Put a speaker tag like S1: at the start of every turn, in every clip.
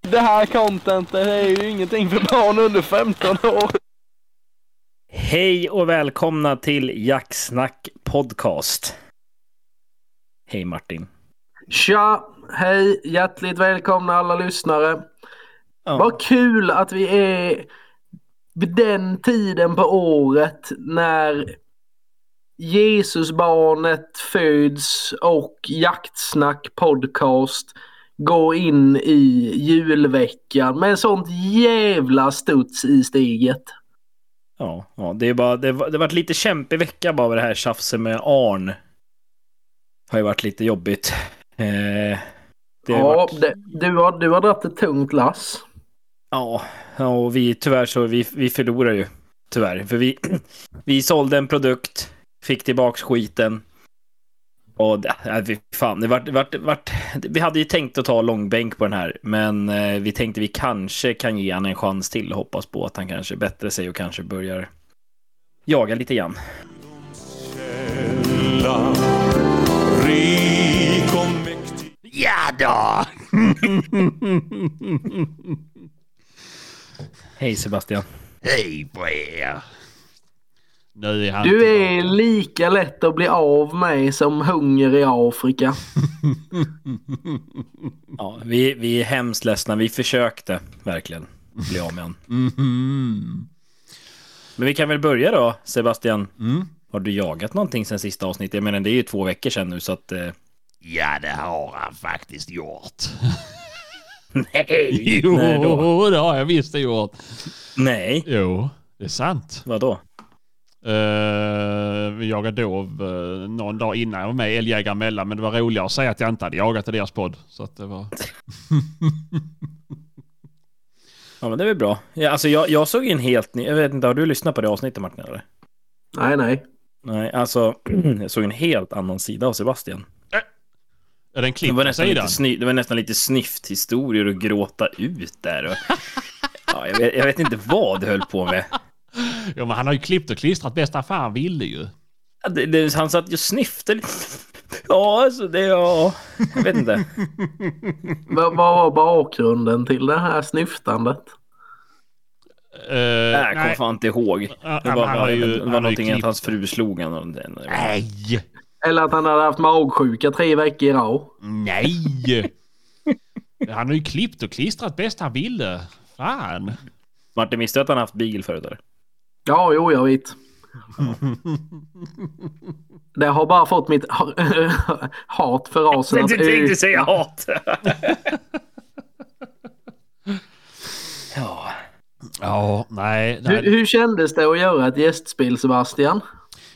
S1: Det här contentet är ju ingenting för barn under 15 år.
S2: Hej och välkomna till Jacksnack Podcast. Hej Martin.
S3: Tja! Hej! Hjärtligt välkomna alla lyssnare.
S2: Ja.
S3: Vad kul att vi är vid den tiden på året när Jesusbarnet föds och Jaktsnack podcast går in i julveckan med sånt jävla studs i steget.
S2: Ja, ja det, är bara, det, var- det har varit lite kämpig vecka bara med det här tjafset med Arn. Har ju varit lite jobbigt. Eh, det har
S3: Ja,
S2: varit,
S3: det, du, har, du har dragit ett tungt lass.
S2: ja, ja, och vi tyvärr så vi, vi förlorar ju. Tyvärr, för vi, vi sålde en produkt, fick tillbaks skiten. Och det, äh, vi- fan, det vart, det vart, det vart, vi hade ju tänkt att ta långbänk på den här, men eh, vi tänkte vi kanske kan ge han en chans till och hoppas på att han kanske bättrar sig och kanske börjar jaga lite grann.
S4: källa. Rik och mäktig.
S2: Ja då! Hej Sebastian.
S4: Hej på er! Nu är han
S3: Du
S4: tillbaka.
S3: är lika lätt att bli av med som hunger i Afrika.
S2: Ja, vi, vi är hemskt ledsna. Vi försökte verkligen bli av med honom.
S4: Mhm.
S2: Men vi kan väl börja då, Sebastian. Har du jagat någonting sen sista avsnittet? Jag menar, det är ju två veckor sedan nu så att... Eh...
S4: Ja, det har han faktiskt gjort.
S2: Nej!
S4: Jo,
S2: Nej då.
S4: det har jag visst gjort.
S2: Nej!
S4: Jo, det är sant.
S2: Vadå?
S4: Eh, vi jagade dov eh, någon dag innan jag var med i Älgjägare emellan, men det var roligare att säga att jag inte hade jagat i deras podd. Så att det var...
S2: Ja men det är väl bra. Ja, alltså jag, jag såg en helt ny... Jag vet inte, har du lyssnat på det avsnittet Martin eller?
S3: Nej, nej.
S2: Nej, alltså jag såg en helt annan sida av Sebastian.
S4: Är det en
S2: Det var,
S4: klipp
S2: nästan
S4: sidan?
S2: lite sny- det var nästan lite snyfthistorier och gråta ut där. Och... Ja, jag, vet, jag vet inte vad du höll på med.
S4: Jo, men han har ju klippt och klistrat bästa fan han ville ju. Eh,
S2: Ja, Det, det, han satt ju och snyftade. Ja, alltså det... Ja, jag vet inte.
S3: Vad vad var bakgrunden till det här snyftandet?
S4: Eh,
S2: Nej, jag kommer
S4: nej.
S2: fan inte ihåg. Det
S4: Ja,
S2: var,
S4: men han har ju-
S2: det
S4: han
S2: var
S4: har ju
S2: någonting att
S4: klippt.
S2: hans fru slog honom. Det- det-
S4: nej!
S3: Eller att han hade haft magsjuka tre veckor i rad.
S4: Nej! Han har ju klippt och klistrat bäst han ville. Fan.
S2: Martin, visste du att han haft beagle förut? Eller?
S3: Ja, jo, jag vet. Det har bara fått mitt hat för rasen att öka.
S2: säga hat. ja.
S4: Ja, nej.
S3: Hur,
S4: nej.
S3: hur kändes det att göra ett gästspel, Sebastian?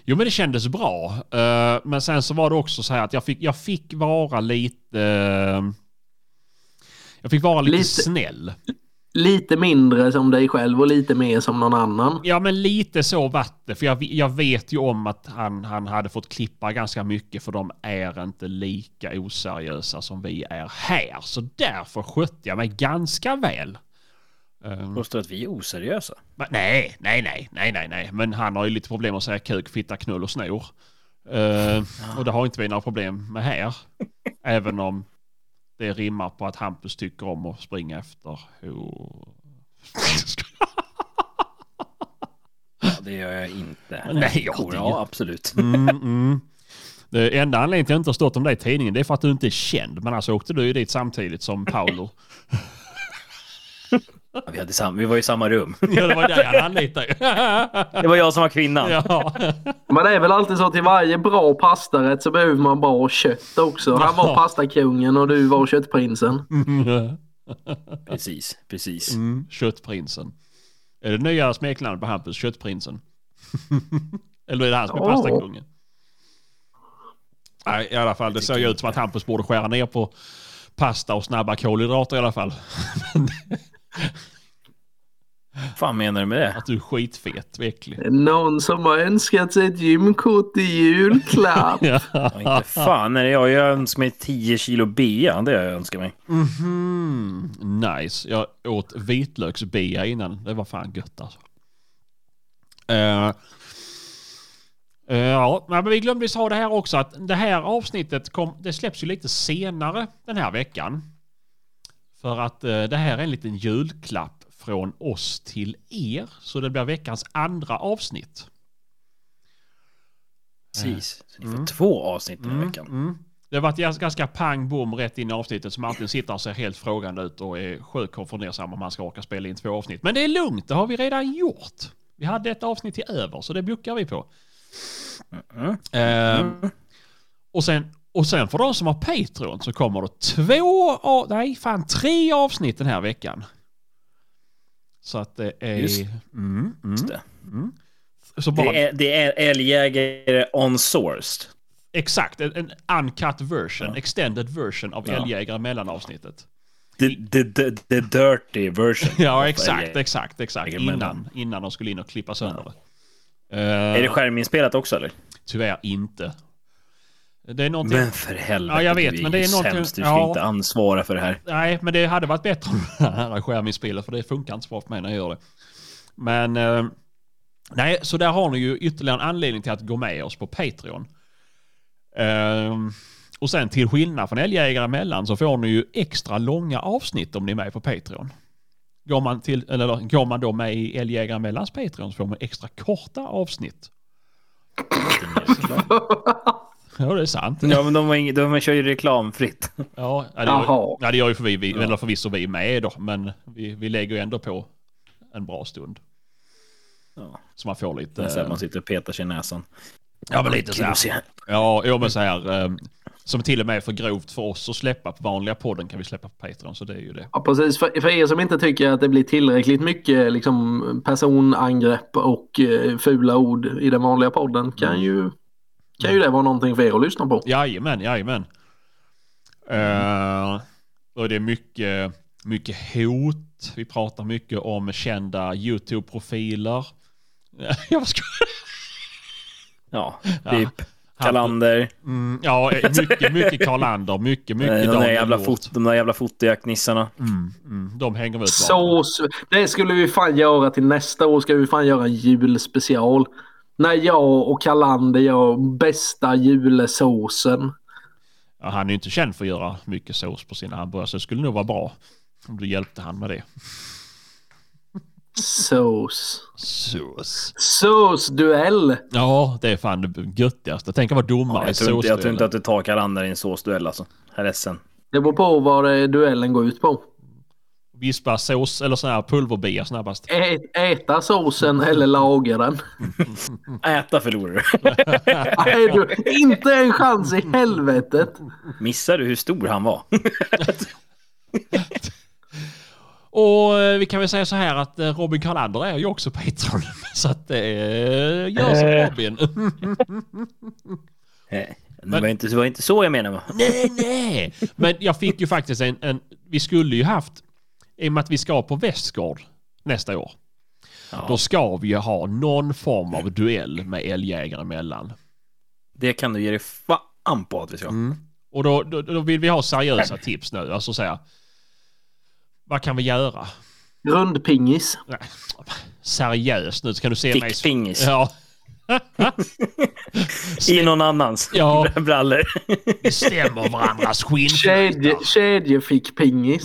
S4: Jo, men det kändes bra. Eh, men sen så var det också så här att jag fick, jag fick vara lite... eh, jag fick vara lite,
S3: Lite-
S4: snäll.
S3: Lite mindre som dig själv och lite mer som någon annan.
S4: Ja, men lite så vart det. För jag, jag vet ju om att han, han hade fått klippa ganska mycket för de är inte lika oseriösa som vi är här. Så därför skötte jag mig ganska väl. Eh,
S2: Påstår att vi är oseriösa?
S4: Men Nej, nej, nej, nej, nej, nej. Men han har ju lite problem att säga kuk, fitta, knull och snor. Eh, och det har inte vi några problem med här. Även om det rimmar på att Hampus tycker om att springa efter hår.
S2: Ja, det gör jag inte.
S4: Nej, jag
S2: Kora,
S4: tycker-
S2: Ja, absolut.
S4: Mm, mm. Det enda anledningen till att jag inte har stått om det i tidningen det är för att du inte är känd. Men alltså åkte du ju dit samtidigt som Paolo.
S2: Ja, Vi, hade sam- vi var i samma rum.
S4: Ja, det var där han anlitade ju.
S2: Det var jag som var kvinnan.
S4: Ja.
S3: Men det är väl alltid så till varje bra pastarätt så behöver man bra kött också. Han var pastakungen och du var köttprinsen.
S2: Precis, precis.
S4: Mm. Köttprinsen. Är det nya smeknamnet på Hampus? Köttprinsen? Eller är det han som är
S3: Ja.
S4: pastakungen? Nej, i alla fall. Det såg ju ut som att Hampus borde skära ner på pasta och snabba kolhydrater i alla fall.
S2: Vad fan menar du med det?
S4: Att du är skitfet och äcklig.
S3: Någon som har önskat sig ett gymkort i julklapp.
S4: Ja.
S2: Ja, inte fan är det jag. Jag önskar mig 10 kilo bea. Det är jag önskar mig.
S4: Mhm. Nice. Jag åt vitlöksbea innan. Det var fan gött alltså. Eh, eh, ja, nej, men vi glömde sa det här också att det här avsnittet kom, det släpps ju lite senare den här veckan. För att eh, det här är en liten julklapp från oss till er. Så det blir veckans andra avsnitt.
S2: Precis. Så ni får två avsnitt den här veckan.
S4: Mm. Det har varit gans- ganska pang bom rätt in i avsnittet så Martin sitter och ser helt frågande ut och är sjukt konfundersam om han ska orka spela in två avsnitt. Men det är lugnt, det har vi redan gjort. Vi hade ett avsnitt till över så det bjuckar vi på.
S2: Mm.
S4: Ehm, och, sen, och sen för de som har Patreon så kommer det två, av- nej fan tre avsnitt den här veckan. Så att det är...
S2: Just
S4: mm, mm,
S2: Just det.
S4: Mm. Så bara,
S2: Det är, det är älgjägare on sourced.
S4: Exakt, en, en uncut version, extended version av
S2: Ja.
S4: Älgjägare mellan avsnitt.
S2: The, the, the, the dirty version.
S4: Ja,
S2: of
S4: exakt,
S2: Älgjägare.
S4: exakt, exakt.
S2: Älgjägare mellan.
S4: Innan, innan de skulle in och klippa sönder det.
S2: Är det
S4: Eh,
S2: skärminspelat också eller?
S4: tyvärr inte. Det är någonting...
S2: Men för helvete,
S4: Ja, jag vet,
S2: du är
S4: men det
S2: ju
S4: är någonting-
S2: sämst. Du ska
S4: ja.
S2: inte ansvara för det här.
S4: Nej, men det hade varit bättre om det här skärminspelet, för det funkar inte så bra för mig när jag gör det. Men... Eh, nej, så där har ni ju ytterligare en anledning till att gå med oss på Patreon. Ehm, och sen till skillnad från Älgjägare emellan så får ni ju extra långa avsnitt om ni är med på Patreon. Går man, till, eller, går man då med i Älgjägare mellans Patreon så får man extra korta avsnitt. Ja, det är sant.
S2: Ja, men de, var ing- de kör ju reklamfritt.
S4: Ja, ja, det,
S3: Jaha.
S4: gör, ja, det gör ju för vi, vi, eller förvisso vi med då, men vi, vi lägger ju ändå på en bra stund.
S2: Ja.
S4: Så man får lite...
S2: Det är så här man sitter och petar sig i näsan.
S4: Ja, men lite så här.
S2: Kul att se.
S4: Ja, jo, men så här. ehm, Som till och med är för grovt för oss att släppa på vanliga podden kan vi släppa på Patreon, så det är ju det.
S3: Ja, precis. För, för er som inte tycker att det blir tillräckligt mycket liksom, personangrepp och eh, fula ord i den vanliga podden kan ju, kan ju det vara någonting för er att lyssna på.
S4: Jajamän, jajamän. Eh, och det är mycket, mycket hot. Vi pratar mycket om kända YouTube-profiler. Jag ska...
S2: Ja, typ. Kalander.
S4: Mm, ja, mycket, mycket Karl Ander, mycket, mycket
S2: Eh, De där,
S4: Daniel
S2: jävla
S4: Hjort.
S2: fot, de där jävla fotojacknissarna.
S4: Mm, mm, de hänger vi ut
S3: Så, sv- det skulle vi fan göra till nästa år. Ska vi fan göra en julspecial. När jag och Kalander gör bästa julesåsen.
S4: ja, Han är ju inte känd för att göra mycket sås på sina hamburgare, så det skulle nog vara bra om du hjälpte han med det.
S3: Sås.
S4: Sås.
S3: Såsduell.
S4: Ja, det är fan det göttigaste. Tänk att vara domare i
S2: Jag tror, inte, jag tror inte
S4: såsduellen.
S2: att du tar Kalander i en såsduell alltså. Jag är ledsen.
S3: Det beror på vad det, duellen går ut på.
S4: Vispa sås eller sån här pulverbia snabbast.
S3: Ä, äta såsen eller laga den.
S2: Äta förlorar du.
S3: Nej du, inte en chans i helvetet.
S2: Missar du hur stor han var?
S4: Och eh, vi kan väl säga så här att eh, Robin Karlander är ju också Patreon. Så att eh, gör som
S2: Eh.
S4: Robin.
S2: Nej, Eh, Det var, inte, det var inte så jag menade. va?
S4: nej, nej. Men jag fick ju faktiskt en, en... Vi skulle ju haft... I och med att vi ska på Västgård nästa år. Då ska vi ju ha någon form av duell med älgjägare emellan.
S2: Det kan du ge dig fan på att vi ska.
S4: Och då, då, då vill vi ha seriösa tips nu. Alltså säga... Vad kan vi göra?
S3: Rundpingis.
S4: Nej, Seriöst nu, så kan du se mig...
S2: Fickpingis.
S4: Ja.
S2: I någon annans
S4: Ja.
S2: brallor.
S4: Bestämmer varandras
S3: Kedje,
S4: skinnflätar.
S3: kedjefickpingis.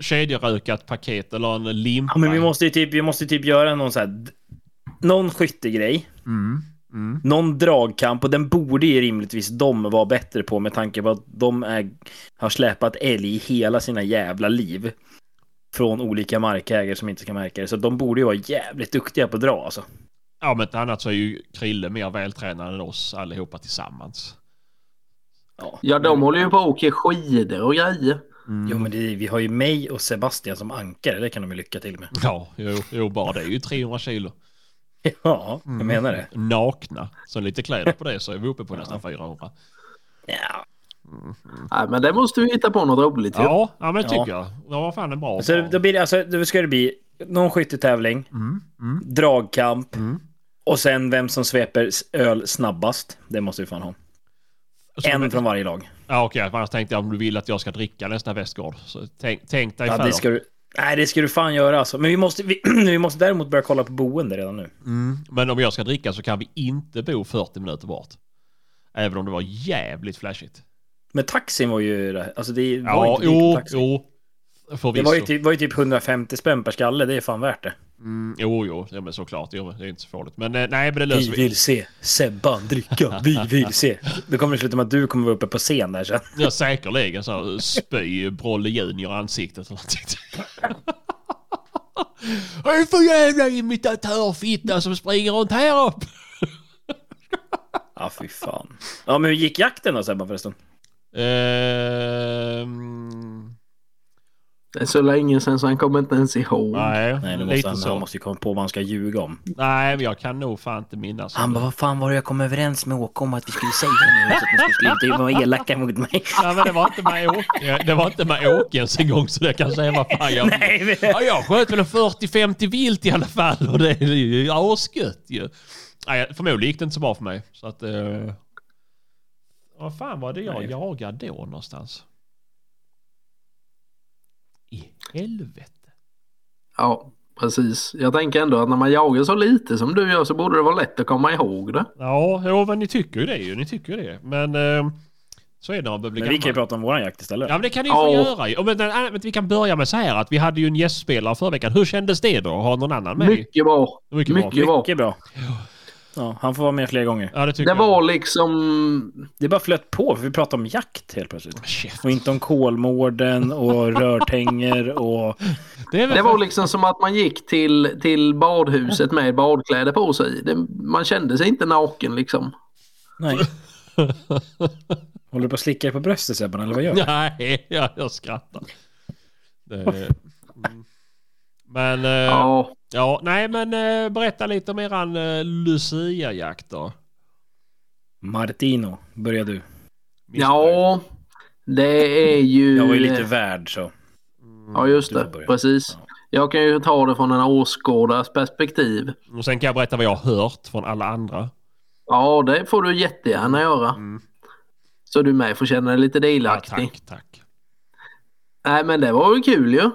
S4: Kedjerökat paket eller en limpa.
S2: Ja, men vi måste ju typ, vi måste ju typ göra någon så här... d- Någon skyttegrej.
S4: Mm,
S2: Någon dragkamp och den borde ju rimligtvis de vara bättre på med tanke på att de är, har släpat älg i hela sina jävla liv. Från olika markägare som inte ska märka det. Så de borde ju vara jävligt duktiga på att dra alltså.
S4: Ja, men inte annat så är ju Krille mer vältränad än oss allihopa tillsammans.
S2: Ja.
S3: Ja, de håller ju på att åka skidor och grejer.
S4: Mm.
S2: Jo men det, vi har ju mig och Sebastian som ankare, det kan de ju lycka till med.
S4: Ja, jo, jo bara det är ju 300 kilo.
S2: Ja, jag menar det.
S4: Nakna. Så lite kläder på det så är vi uppe på nästan 400.
S2: Ja.
S3: Nej, men det måste vi hitta på något roligt ju.
S4: Ja, ja men det
S2: Ja.
S4: tycker jag. Det var fan en bra
S2: Så
S4: plan.
S2: då blir det, alltså, då ska det bli någon skyttetävling,
S4: Mm,
S2: dragkamp och sen vem som sveper s- öl snabbast. Det måste vi fan ha.
S4: Så-
S2: En från varje lag.
S4: Ja, okej. Annars tänkte jag om du vill att jag ska dricka nästa Västgård. Så tänk, tänk dig
S2: Ja,
S4: för.
S2: det ska du, nej, det ska du fan göra alltså. Men vi måste, vi, vi måste däremot börja kolla på boende redan nu.
S4: Mm. Men om jag ska dricka så kan vi inte bo 40 minuter bort. Även om det var jävligt flashigt.
S2: Men taxin var ju... det- Alltså det var
S4: Ja,
S2: inte dyrt med
S4: jo,
S2: taxi.
S4: jo.
S2: Det var ju,
S4: Förvisso.
S2: typ, var ju typ 150 spänn per skalle, det är fan värt det.
S4: Mm, jo, jo, ja, men såklart. Jo, det är inte så farligt. Men eh, nej, men det löser vi.
S2: se Sebban dricka, vi vill se. Det kommer det sluta med att du kommer vara uppe på scen där sen.
S4: Ja, säkerligen så här, spy Brolle Junior i ansiktet eller någonting. Vad är det för jävla imitatörfitta som springer runt här upp?
S2: Ja, fy fan. Ja, men hur gick jakten då Sebban förresten?
S4: Ehm,
S3: Det är så länge sedan så han kommer inte ens ihåg.
S4: nej,
S2: Mm. Nej, det måste
S4: Mm. lite
S2: han,
S4: så.
S2: han måste ju komma på vad han ska ljuga om.
S4: Nej, men jag kan nog fan inte minnas.
S2: Han bara, vad fan var det jag kom överens med Åke om att vi skulle säga nu? Så att ni skulle sluta vara elaka mot mig.
S4: Nej, men det var inte med Åke. Det var inte med Åke ens en gång, så det kan säga vad fan jag
S2: Nej, men-
S4: Ja, jag sköt väl en 40-50 vilt i alla fall och det är ju asgött ju. Nej, förmodligen gick det inte så bra för mig. Så att... Eh, vad fan var det jag
S2: Nej.
S4: jagade då någonstans? I helvete.
S3: Ja, precis. Jag tänker ändå att när man jagar så lite som du gör så borde det vara lätt att komma ihåg det.
S4: Ja, jo, men ni tycker ju det ju. Ni tycker ju det. Men eh, så är det när man börjar bli
S2: Men vi kan ju
S4: gammal.
S2: prata om våran jakt istället.
S4: Ja, men det kan ni ju få
S3: Ja.
S4: göra ju. Och Men, nej, men vi kan börja med så här att vi hade ju en gästspelare förra veckan. Hur kändes det då? Har någon annan med?
S3: Mycket bra.
S4: Mycket bra.
S3: mycket bra.
S2: Mycket bra. Ja, han får vara med fler gånger.
S4: Ja, det tycker
S3: Det
S4: jag.
S3: var liksom...
S2: Det bara flöt på, för vi pratade om jakt helt plötsligt.
S4: Shit.
S2: Och inte om Kolmården och rörtänger och...
S4: Det är väl
S3: Det var liksom som att man gick till, till badhuset med badkläder på sig. Det, man kände sig inte naken liksom.
S2: Nej. Håller du på att slicka dig på bröstet Sebban, eller vad gör du?
S4: Nej, jag, jag skrattar. Det, mm. Men, eh, ja.
S3: Ja,
S4: nej men eh, berätta lite om eran eh, Lucia-jakt då.
S2: Martino, börjar du.
S3: ja det är ju...
S2: Jag var ju lite värd så.
S3: Ja, just
S2: Du får
S3: det.
S2: börja.
S3: Precis. Jag kan ju ta det från en åskådares perspektiv.
S4: Mm. Och sen kan jag berätta vad jag har hört från alla andra.
S3: Ja, det får du jättegärna göra.
S4: Mm.
S3: Så du med får känna dig lite
S4: Ja,
S3: delaktig.
S4: tack, tack.
S3: Nej, men det var väl kul ju.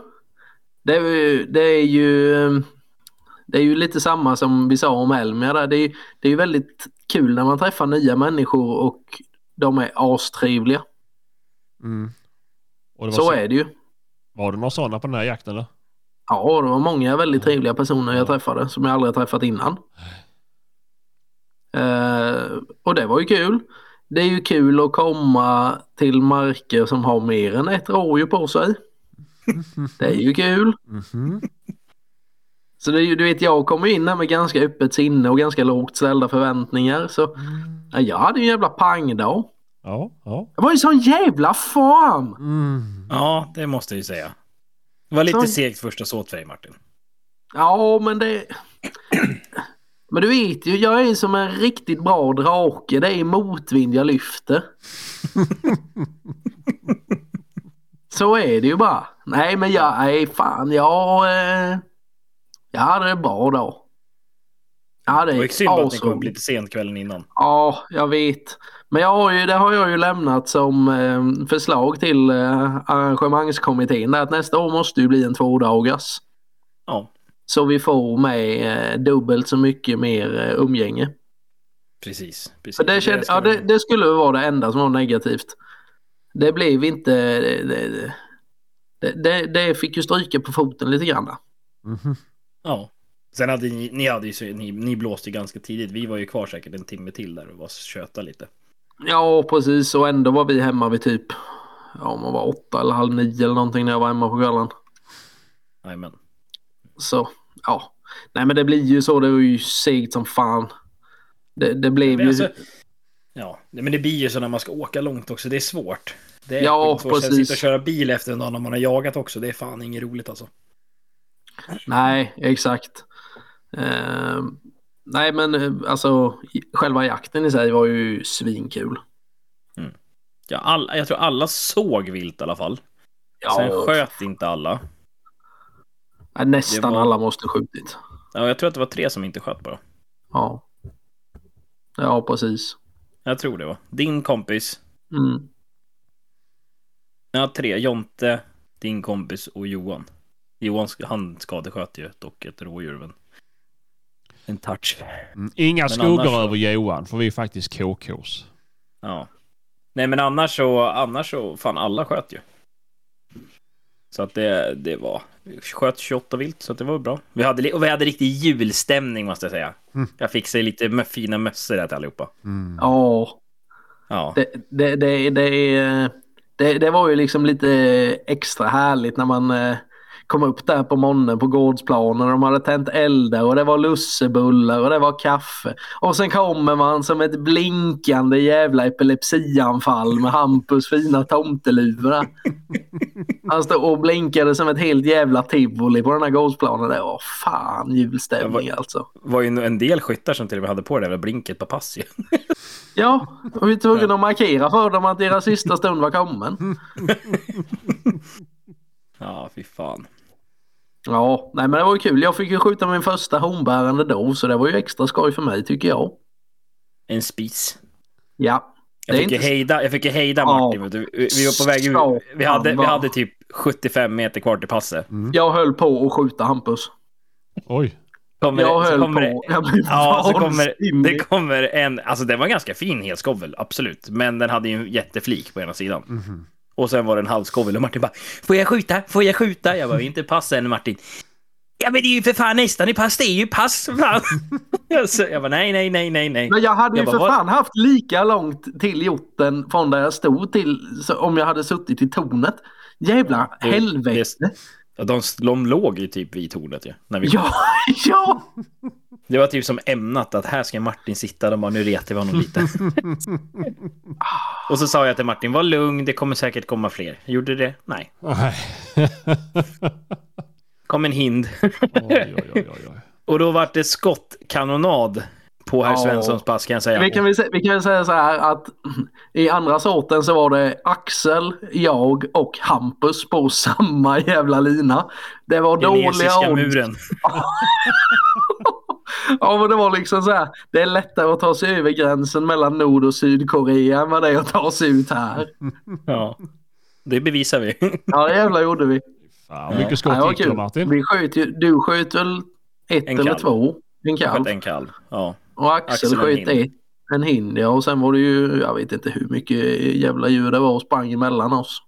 S3: Det är, ju- det är ju... eh, Det är ju lite samma som vi sa om Elmia där. Det är, det är ju väldigt kul när man träffar nya människor och de är astrevliga.
S4: Mm. Och det var,
S3: Så är det ju.
S4: var det några sådana på den här jakten då?
S3: Ja, det var många väldigt trevliga personer jag träffade som jag aldrig har träffat innan. Eh, och det var ju kul. Det är ju kul att komma till marker som har mer än ett rådjur på sig. Det är ju kul.
S4: Mhm.
S3: Så det är ju, du vet, jag kommer ju in här med ganska öppet sinne och ganska lågt ställda förväntningar. Så ja, jag hade ju en jävla pangdag.
S4: Ja, ja.
S3: Det var ju sån jävla farm!
S4: Mm.
S2: Ja, det måste jag ju säga. Det var lite
S3: Så-
S2: segt första såt för dig Martin.
S3: Ja, men det... Men du vet ju, jag är som en riktigt bra drake. Det är motvind jag lyfter. Så är det ju bara. Nej, men jag nej fan. Jag, eh, jag hade det bra då. Ja, det
S2: Det var
S3: är
S2: ju synd att ni kom upp
S3: asroligt.
S2: lite sent kvällen innan.
S3: Ja, jag vet. Men jag har ju, det har jag ju lämnat som eh, förslag till eh, arrangemangskommittén. Där att nästa år måste ju bli en tvådagars.
S2: Ja,
S3: Så vi får med eh, dubbelt så mycket mer eh, umgänge.
S2: precis. precis.
S3: För det, kände,
S2: ska
S3: ja,
S2: vi-
S3: det, det skulle vara det enda som var negativt. Det blev inte... Det, det, det, det fick ju stryka på foten lite grann. där.
S4: Mhm.
S2: Ja. Sen hade ni, ni, hade ju, så- ni, ni blåste ju ganska tidigt. Vi var ju kvar säkert en timme till där och var tjöta lite.
S3: Ja, precis. Och ändå var vi hemma vid typ... Ja, om man var åtta eller halv nio eller någonting när jag var hemma på kvällen.
S2: Jajamän.
S3: Så, ja. Nej, men det blir ju så. Det var ju segt som fan. Det, det blev
S2: Men
S3: ju...
S2: alltså, ja, nej, men det blir ju så när man ska åka långt också. Det är svårt. Det är
S3: Ja,
S2: skitsvårt. Sen
S3: precis.
S2: Sitta och köra bil efter en dag när man har jagat också. Det är fan inget roligt alltså.
S3: Nej, exakt. Eh, nej, men eh, alltså i- själva jakten i sig var ju svinkul.
S2: Ja, all, jag tror alla såg vilt i alla fall.
S3: Ja,
S2: Sen sköt inte alla.
S3: eh, nästan
S2: det var-
S3: alla måste skjutit.
S2: Ja, jag tror att det var tre som inte sköt bara.
S3: Ja, ja precis.
S2: Jag tror det var. Din kompis.
S3: Mm.
S2: Ja, tre. Jonte, din kompis och Johan. Johan sk- han skadesköt ju dock ett rådjur. Men... En touch.
S4: Mm. Inga
S2: annars
S4: skuggor
S2: så-
S4: över Johan, för vi är faktiskt KKs.
S2: Ja. Nej men annars så, annars så, fan alla sköt ju. Så att det, det var, vi sköt 28 vilt så att det var bra. Vi hade, li- och vi hade riktig julstämning måste jag säga.
S4: Mm.
S2: Jag fixade lite mö- fina mössor där till allihopa.
S3: Ja,
S2: Ja,
S3: det, det, det, det, det, det var ju liksom lite extra härligt när man eh, kom upp där på morgonen på gårdsplanen och de hade tänt eldar och det var lussebullar och det var kaffe. Och sen kommer man som ett blinkande jävla epilepsianfall med Hampus fina tomteluvor. där. Han stod och blinkade som ett helt jävla tivoli på den här gårdsplanen. Det var fan julstämning
S2: Det
S3: alltså.
S2: var ju en del skyttar som till och med hade på det där jävla blinket på pass ju.
S3: Ja, och vi tog tvungna att markera för dem att deras sista stund var kommen.
S2: Ja, fy fan.
S3: Ja, nej men det var ju kul. Jag fick ju skjuta min första honbärande dov så det var ju extra skoj för mig tycker jag.
S2: En spis.
S3: Ja.
S2: Jag
S3: Det är
S2: fick, ju
S3: inte-
S2: hejda, jag fick ju hejda
S3: Ja.
S2: Martin. vet du. Vi vi var på väg ut. Vi hade, vi hade typ 75 meter kvar till passet.
S3: Jag höll på att skjuta Hampus.
S4: Mm. Oj.
S2: Kommer
S3: Jag
S2: det- så
S3: höll
S2: kommer det-
S3: på. Jag blev
S2: Ja, så kommer,
S3: vansinnig.
S2: det kommer en, alltså den var ganska fin helskovel, absolut. Men den hade ju en jätteflik på ena sidan.
S3: Mm.
S2: Och sen var det en halvskovel och Martin bara, får jag skjuta, får jag skjuta? Jag bara, "Vi är inte pass än Martin. Ja men det är ju för fan nästan i pass, det är ju pass för fan. Så jag bara, nej, nej, nej, nej, nej.
S3: Men jag hade ju
S2: Jag bara,
S3: för
S2: vad-
S3: fan haft lika långt till jotten från där jag stod till så om jag hade suttit i tornet. Jävla
S2: det-
S3: helvete.
S2: Ja, De, de låg ju typ vid tornet ju. När vi kom.
S3: Ja, ja.
S2: Det var typ som ämnat att här ska Martin sitta. De bara nu retar vi honom lite. och så sa jag till Martin, var lugn, det kommer säkert komma fler. Gjorde det? Nej.
S4: Nej.
S2: Kom en hind.
S4: oj, oj, oj, oj, oj.
S2: och då vart det skottkanonad på herr
S3: Ja.
S2: Svenssons pass kan jag säga.
S3: Vi kan väl, sä- vi kan väl säga så här att i andra sorten så var det Axel, jag och Hampus på samma jävla lina. Det var
S2: Kinesiska
S3: dåliga odds.
S2: muren.
S3: Ja, men det var liksom så här. Det är lättare att ta sig över gränsen mellan Nord och Sydkorea än vad det är att ta sig ut här.
S2: Ja. Det bevisar vi.
S3: Ja, det jävla gjorde vi.
S4: Fan, mycket skott
S3: Ja, det var
S4: gick det
S3: kul.
S4: Martin.
S3: vi sköt ju, du sköt väl ett
S2: En
S3: eller
S2: kalv.
S3: två? En
S2: Jag
S3: kalv.
S2: sköt en kalv. Ja.
S3: Och Axel,
S2: Axel en
S3: sköt
S2: hind.
S3: ett. En hind, ja. Och sen var det ju, jag vet inte hur mycket jävla djur det var och sprang emellan oss.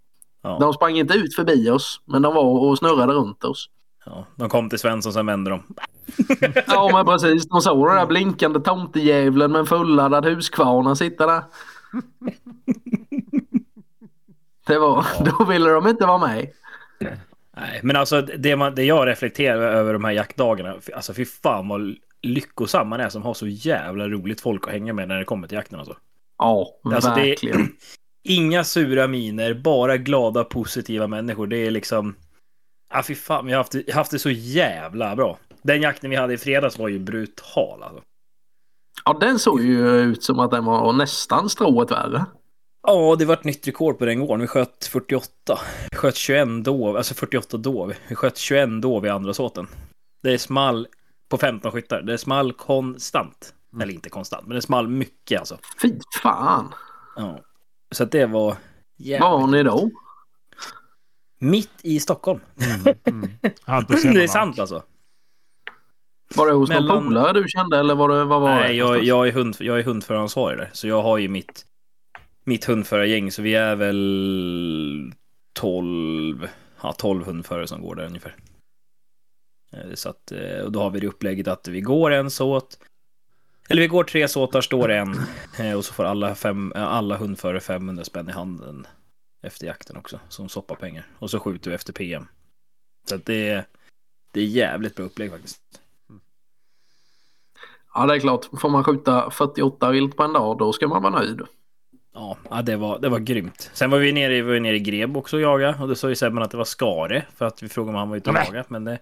S2: Ja.
S3: De sprang inte ut förbi oss, men de var och snurrade runt oss.
S2: Ja. De kom till Svensson, sen vände de.
S3: Ja, men precis. De såg den där blinkande tomtejävlen med en fulladdad huskvarna sitta där. Det var, då ville de inte vara med.
S2: Nej, men alltså det, man, det jag reflekterar över de här jaktdagarna, f- alltså fy fan vad lyckosam man är som har så jävla roligt folk att hänga med när det kommer till jakten alltså.
S3: Ja,
S2: Alltså, det-
S3: verkligen.
S2: Inga sura miner, bara glada positiva människor. Det är liksom, ja fy fan, jag har haft, det- haft det så jävla bra. Den jakten vi hade i fredags var ju brutal alltså.
S3: Ja, den såg ju ut som att den var nästan strået värre.
S2: Ja, det vart nytt rekord på den gården. Vi sköt 48. Vi sköt 21 dov, alltså 48 dov. Vi sköt 21 dov i andra såten. Det är small på 15 skyttar. Det är small konstant. Eller inte konstant, men det är small mycket alltså.
S3: Fy fan.
S2: Ja. Så att det var...
S3: Var
S2: jävligt.
S3: var ni då?
S2: Mitt i Stockholm.
S4: Hampus
S2: Det är
S4: Hellman.
S2: sant alltså.
S3: Var det hos någon
S2: Mellan-
S3: polare du kände eller var det, vad var det?
S2: Nej, jag,
S3: någonstans?
S2: jag är, hund, jag är hundföraransvarig där. Så jag har ju mitt, mitt hundförargäng. Så vi är väl 12, ja, 12 hundförare som går där ungefär. Eh, Så att, eh, och då har vi det upplägget att vi går en såt. Eller vi går tre såtar, står en. eh, Och så får alla, fem, eh, alla hundförare 500 spänn i handen efter jakten också. Som soppapengar. Och så skjuter vi efter PM. Så att det, är- det är jävligt bra upplägg faktiskt.
S3: Ja, det är klart. Får man skjuta 48 vilt på en dag, då ska man vara nöjd.
S2: Ja, ja, det var, det var grymt. Sen var vi nere, i- var vi nere i Greb också och jagade. Och då sa ju Sebban att det var Skare. För att vi frågade om han var ute och
S4: Nej.
S2: jagade. Men det...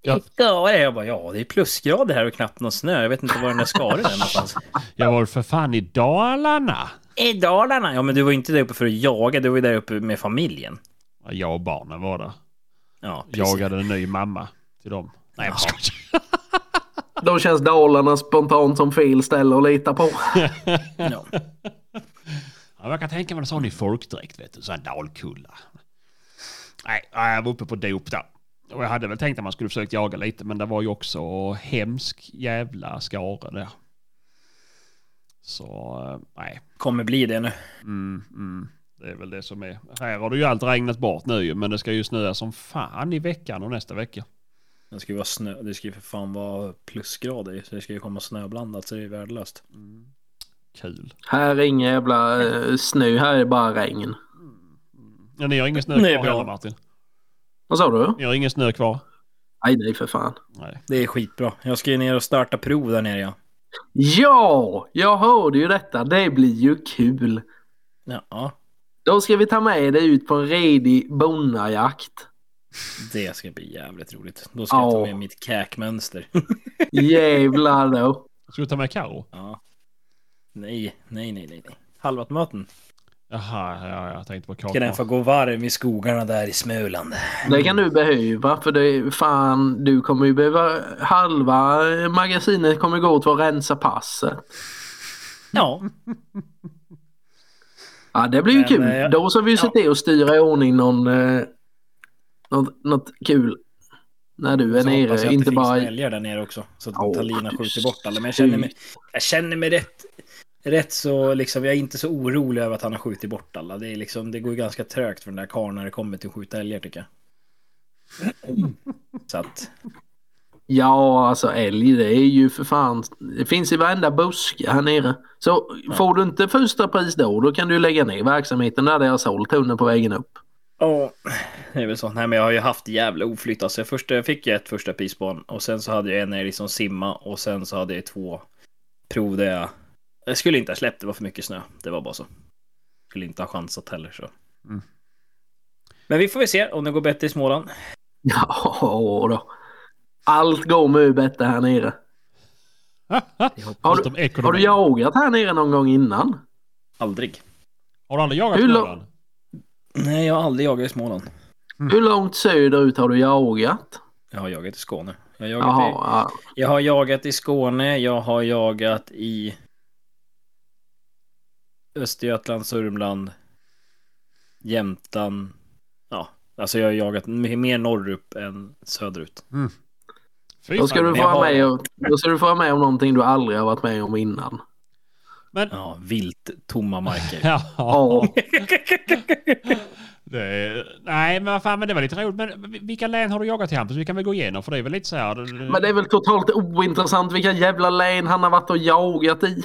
S4: Ja.
S2: Skare? Jag bara, ja det är plusgrader här och knappt någon snö. Jag vet inte var den där Skare är någonstans.
S4: Jag var för fan i Dalarna.
S2: I Dalarna? Ja, men du var ju inte där uppe för att jaga. Du var ju där uppe med familjen.
S4: Ja, Jag och barnen var där.
S2: Ja, precis.
S4: Jagade en ny mamma till dem. Nej, jag skojar.
S3: Då känns Dalarna spontant som fel ställe att lita på.
S2: Ja.
S4: Ja, jag kan tänka mig en sån i folkdräkt, vet du. Sån dalkulla. Nej, ja, jag var uppe på dop där. Och jag hade väl tänkt att man skulle försökt jaga lite, men det var ju också hemsk jävla skara där. Så eh, nej.
S2: Kommer bli det nu.
S4: Mm, mm. Det är väl det som är. Här har det ju allt regnat bort nu ju, men det ska ju snöa som fan i veckan och nästa vecka.
S2: Det ska ju vara snö. Det ska ju för fan vara plusgrader i, så det ska ju komma snöblandat så det är värdelöst.
S4: Mm. Kul.
S3: Här är ingen jävla eh, snö, här är bara regn.
S4: Mm, Ja, ni har ingen snö
S2: Nej,
S4: kvar
S2: bra.
S4: heller Martin?
S3: Vad sa du?
S4: Ni har ingen snö kvar?
S3: Nej, nej för fan.
S4: Nej.
S2: Det är skitbra. Jag ska ju ner och starta prov där nere ja.
S3: Ja, jag hörde ju detta. Det blir ju kul.
S2: Ja,
S3: Då ska vi ta med dig ut på en redig bonnajakt.
S2: det ska bli jävligt roligt. Då ska jag ta
S3: Ja.
S2: med mitt käkmönster.
S3: Jävlar då.
S4: Ska du ta med Karo?
S2: Ja. Nej, nej, nej, nej. nej. Halvvattmaten.
S4: Jaha, ja, jag tänkte på
S2: Ska den få
S4: kakor.
S2: gå varm i skogarna där i Småland?
S3: Det kan du behöva för det är fan, du kommer ju behöva halva magasinet kommer gå åt att rensa passet.
S2: Ja,
S3: Ja, det blir ju
S2: Men,
S3: kul.
S2: eh,
S3: Då ska vi ju se till att styra i ordning någon, eh, något, något kul när du är
S2: så hoppas jag
S3: nere.
S2: att
S3: Inte
S2: det
S3: bara...
S2: finns älgar där nere också. Så att
S3: Ja,
S2: Talina skjuter
S3: precis.
S2: bort alla. Men jag känner mig, jag känner mig rätt, rätt så liksom, jag är inte så orolig över att han har skjutit bort alla. Det, är liksom, det går ju ganska trögt för den där karln när det kommer till att skjuta älgar tycker jag. Så att,
S3: Ja, alltså älg det är ju för fan. Det finns i varenda buske här nere. Så får du inte första pris då, då kan du lägga ner verksamheten där det har sålt hunden på vägen upp.
S2: ja, det är väl så. Nej men jag har ju haft jävla oflytt alltså. Jag först, jag fick ju ett första prisbarn och sen så hade jag en när jag liksom simma och sen så hade jag två prov där jag, jag skulle inte ha släppt, det var för mycket snö. Det var bara så. Skulle inte ha chansat heller så.
S4: Mm.
S2: Men vi får väl se om det går bättre i Småland.
S3: Ja, då. Allt går med bättre här nere. Har du-
S4: Förutom ekonomin.
S3: Har du jagat här nere någon gång innan?
S2: Aldrig.
S4: Har du aldrig jagat
S3: Hur lång-
S4: Småland?
S2: Nej, jag har aldrig jagat i Småland.
S3: Hur långt söderut har du jagat?
S2: Jag har jagat i Skåne. Jag har jagat,
S3: Jaha,
S2: i,
S3: ja.
S2: jag har jagat i Skåne, jag har jagat i Östergötland, Sörmland, Jämtland. Ja, alltså jag har jagat m- mer norrut än söderut.
S4: Fy
S3: då ska
S4: fan.
S3: du få
S2: jag
S3: vara
S2: har-
S3: med, och, då ska du få vara med om någonting du aldrig har varit med om innan.
S4: Men...
S2: Ja, vilt tomma marker.
S4: Ja.
S3: Ja,
S4: Det är... Nej, men vad fan, men det var lite roligt. Men vilka län har du jagat i Hampus? Vi kan väl gå igenom, för det är väl lite så här...
S3: men det är väl totalt ointressant vilka jävla län han har varit och jagat i.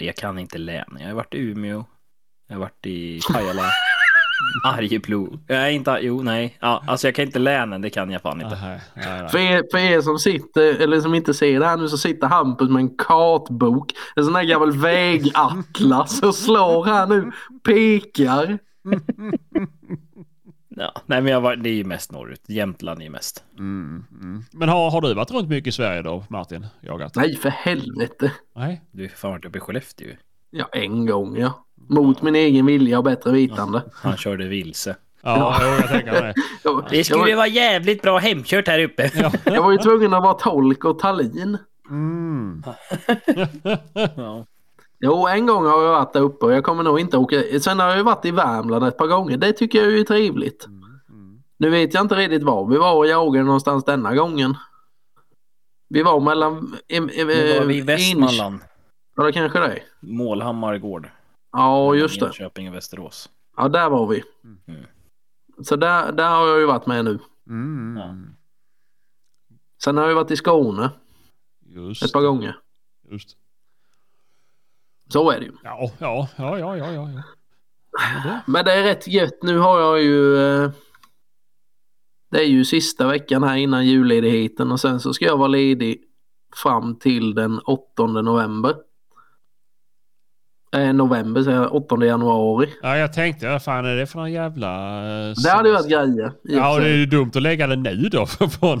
S2: Jag kan inte län. Jag har varit i Umeå. Jag har varit i Pajala. Arjeplog. Nej, inte... Jo, nej. Ja, alltså jag kan inte länen, det kan jag fan inte.
S4: Nej, nej, nej.
S3: För er, för er som sitter, eller som inte ser det här nu så sitter Hampus med en kartbok, en sån här gammal vägatlas och slår här nu, pekar.
S2: Ja, nej men jag var, det är ju mest norrut. Jämtland är ju mest.
S4: Mm, mm. Men har, har du varit runt mycket i Sverige då, Martin? Jagat?
S3: Nej för helvete.
S4: Nej.
S2: Du har fan varit uppe i Skellefteå ju.
S3: Ja en gång ja. Mot min egen vilja och bättre vitande.
S2: Han körde vilse.
S4: Ja, jo, jag tänker det.
S3: Jag,
S2: Det
S3: jag,
S2: skulle
S3: var,
S2: vara jävligt bra hemkört här uppe.
S4: Ja.
S3: jag var ju tvungen att vara tolk och Tallin.
S4: Mm.
S2: Ja.
S3: Jo en gång har jag varit där uppe och jag kommer nog inte åka. Sen har jag ju varit i Värmland ett par gånger. Det tycker jag är ju trevligt.
S4: Mm.
S3: Nu vet jag inte riktigt var vi var och jagade någonstans denna gången. Vi var mellan... i- i-
S2: Nu var vi i
S3: Enköp-
S2: Västmanland.
S3: Ja, det kanske det är.
S2: Målhammar gård.
S3: Ja, just det.
S2: Enköping och Västerås.
S3: Ja, där var vi.
S2: Mm.
S3: Så där, där har jag ju varit med nu.
S4: Mm.
S3: Sen har jag ju varit i Skåne ett
S4: Just,
S3: par gånger.
S4: just.
S3: Så är det ju.
S4: Ja, ja, ja, ja, ja, ja. ja. Men det-
S3: Men det är rätt gött. Nu har jag ju... eh, Det är ju sista veckan här innan julledigheten och sen så ska jag vara ledig fram till den 8 november. Eh, november säger jag, 8 januari.
S4: Ja, jag tänkte, vad fan är det för någon jävla... eh,
S3: Det hade ju varit grejer. i och
S4: Ja,
S3: för
S4: det är
S3: sig.
S4: ju dumt att lägga den nu då. Från från 20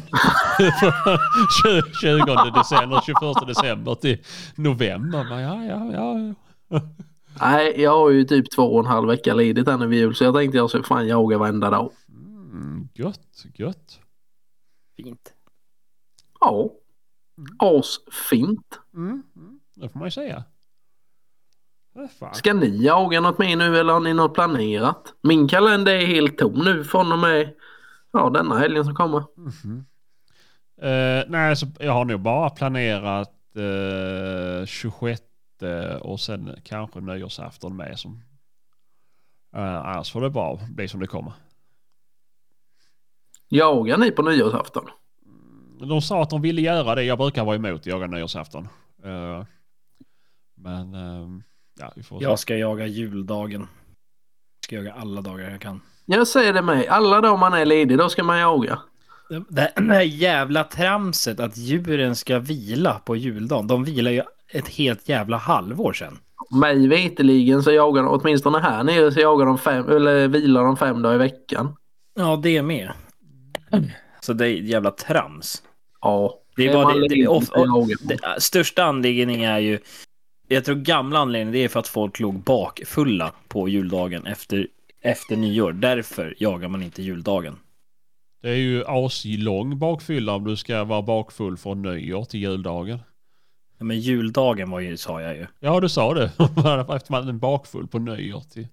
S4: december, 21 december till november. Men ja, ja, ja.
S3: Nej, jag har ju typ två och en halv vecka ledigt här nu vid jul så jag tänkte jag ska fan jaga varenda dag.
S4: Mm, gött, gött.
S2: Fint.
S3: Ja. Asfint.
S4: Mm. mm, Det får man ju säga. Vad fan.
S3: Ska ni jaga något mer nu eller har ni något planerat? Min kalender är helt tom nu från och med ja,
S4: Mm-hmm.
S3: denna helgen som kommer.
S4: Mhm. Eh, nej, så jag har nog bara planerat eh, 26 och sen kanske nyårsafton med. Som, eh, annars får det bara bli som det kommer.
S3: Jagar ni på nyårsafton?
S4: De sa att de ville göra det. Jag brukar vara emot att jaga nyårsafton. Eh, men eh, ja, vi får se.
S2: Jag ska jaga juldagen. Jag ska jaga alla dagar jag kan.
S3: Jag säger det med. Alla dagar man är ledig, då ska man jaga.
S2: Det- Det det här jävla tramset att djuren ska vila på juldagen. De vilar ju ett helt jävla halvår sedan.
S3: Mig veterligen så jagar de, åtminstone här nere, så jagar de fem, eller vilar de fem dagar i veckan.
S2: Ja, det med. Så det är ett jävla trams.
S3: Ja.
S2: Det är bara
S3: man
S2: det, det,
S3: ledig
S2: är of,
S3: så jagar man.
S2: det, äh, största anledningen är ju, jag tror gamla anledningen det är för att folk låg bakfulla på juldagen efter, efter nyår. Därför jagar man inte juldagen.
S4: Det är ju aslång bakfylla om du ska vara bakfull från nyår till juldagen.
S2: Ja, Men juldagen var ju, sa jag ju.
S4: Ja, du sa det. Efter man är bakfull på nyår till...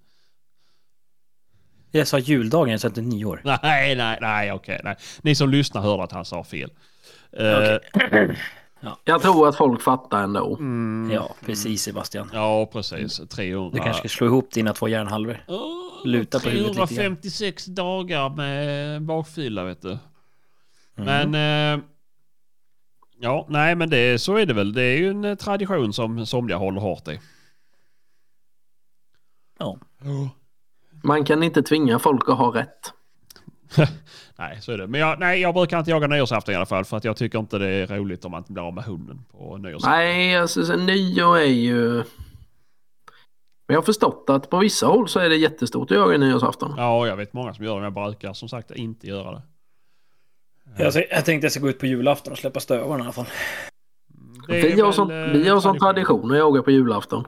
S2: Jag sa juldagen, jag sa inte nyår.
S4: Nej, nej, nej, okej, nej. Ni som lyssnar hörde att han sa fel. Eh,
S2: Okej.
S3: Jag tror att folk fattar ändå.
S4: mm, ja.
S2: Ja, precis Sebastian.
S4: precis. 300.
S2: Du kanske ska slå ihop dina två hjärnhalvor.
S4: Åh,
S2: luta på huvudet lite grann.
S4: 356 dagar med bakfylla, vet du.
S2: Mm.
S4: Men... Eh, ja, nej, men det, så är det väl. Det är ju en eh, tradition som somliga håller hårt i.
S2: Ja.
S4: Ja.
S3: Man kan inte tvinga folk att ha rätt.
S4: Nej, så är det. Men jag, nej, jag brukar inte jaga nyårsafton i alla fall för att jag tycker inte det är roligt om man inte blir av med hunden på nyårsafton.
S3: Nej, alltså så nyår är ju... Men jag har förstått att på vissa håll så är det jättestort att jaga nyårsafton.
S4: Ja, jag vet många som gör det, men jag brukar som sagt inte göra det.
S2: Jag, alltså, jag tänkte jag ska gå ut på julafton och släppa stövarna i alla fall.
S4: det är
S3: vi, har
S4: väl,
S3: som,
S4: eh,
S3: vi har som tradition att jaga på julafton.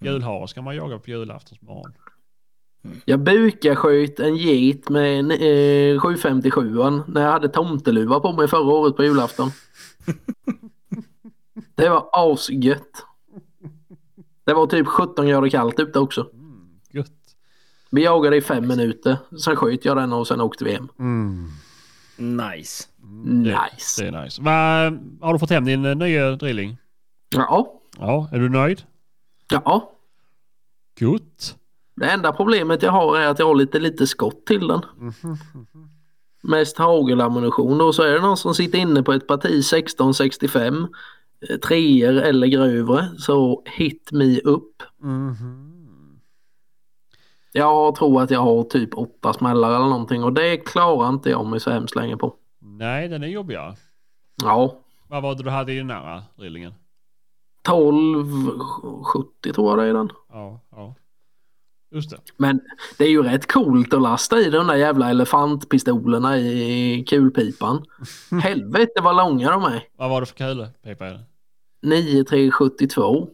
S4: Julhare ska man jaga på julaftonsmorgon.
S3: Jag bukarskjöt en get med en, eh, 757 när jag hade tomteluva på mig förra året på julafton. det var asgött. Det var typ 17 grader kallt ute också.
S4: Mm, gött.
S3: Vi jagade i fem minuter, sen sköt jag den och sen åkte vi hem.
S2: Nice.
S4: Mm.
S3: Nice.
S4: Det är nice. Va, har du fått hem din eh, nya drilling?
S3: Ja,
S4: Ja, är du nöjd?
S3: ja.
S4: Gott.
S3: Det enda problemet jag har är att jag har lite lite skott till den. Mest hagelammunition då, så är det någon som sitter inne på ett parti 1665 eh, treor eller grövre så hit me upp.
S4: Mhm.
S3: Jag tror att jag har typ åtta smällar eller någonting och det klarar inte jag mig så hemskt länge på.
S4: Nej, den är jobbigare.
S3: Ja,
S4: Vad var det du hade i den här eh, drillingen?
S3: 1270 tror jag det är den.
S4: Ja, ja. Just det.
S3: Men det är ju rätt coolt att lasta i de där jävla elefantpistolerna i kulpipan. Helvete vad långa de är.
S4: Vad var det för kula? Pepa är det?
S3: 9372.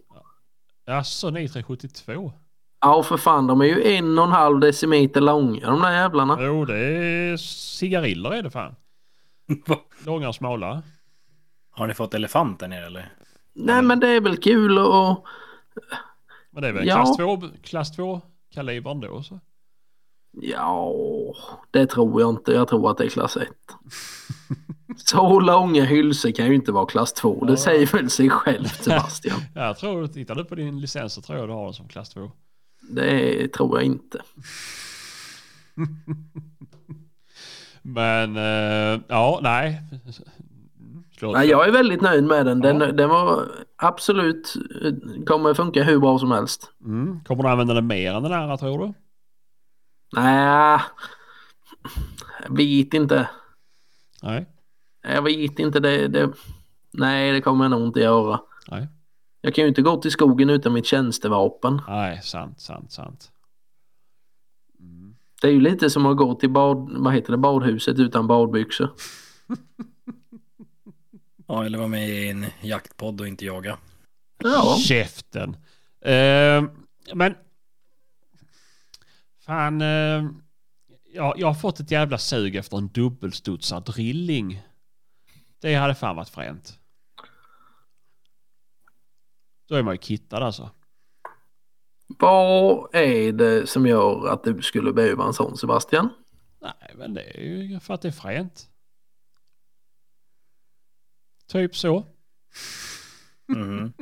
S4: Jaså, 9372?
S3: Ja för fan de är ju en och en halv decimeter långa de där jävlarna.
S4: Jo, det är cigariller är det fan.
S2: Va?
S4: Långa och smala.
S2: Har ni fått elefanter ner eller?
S3: Nej men det är väl kul och
S4: Men det är väl
S3: Ja.
S4: klass 2 klass 2 kalibern då så.
S3: ja det tror jag inte. Jag tror att det är klass 1. Så långa hylsor kan ju inte vara klass 2. Det säger väl sig självt Sebastian.
S4: Jag tror, tittar du på din licens så tror jag du har den som klass 2.
S3: Det tror jag inte.
S4: Men eh, ja, nej. Slå ett
S3: Nej,
S4: slag.
S3: jag är väldigt nöjd med den. Den,
S4: Ja.
S3: den var absolut, eh, kommer funka hur bra som helst.
S4: Mm. Kommer du använda den mer än den andra tror du?
S3: Nej, jag vet inte.
S4: Nej.
S3: Jag vet inte. Det, det, nej, det kommer jag nog inte göra.
S4: Nej.
S3: Jag kan ju inte gå till skogen utan mitt tjänstevapen.
S4: Nej, sant, sant, sant. Mm.
S3: Det är ju lite som att gå till bad, vad heter det, badhuset utan badbyxor.
S2: Ja, eller vara med i en jaktpodd och inte jaga.
S3: Ja,
S4: Käften. Eh, men. Fan. Eh, jag, jag har fått ett jävla sug efter en dubbelstudsad drilling. Det hade fan varit fränt. Då är man ju kittad alltså.
S3: vad är det som gör att du skulle behöva en sån Sebastian?
S4: Nej, men det är ju för att det är fränt. Typ så.
S2: Mhm.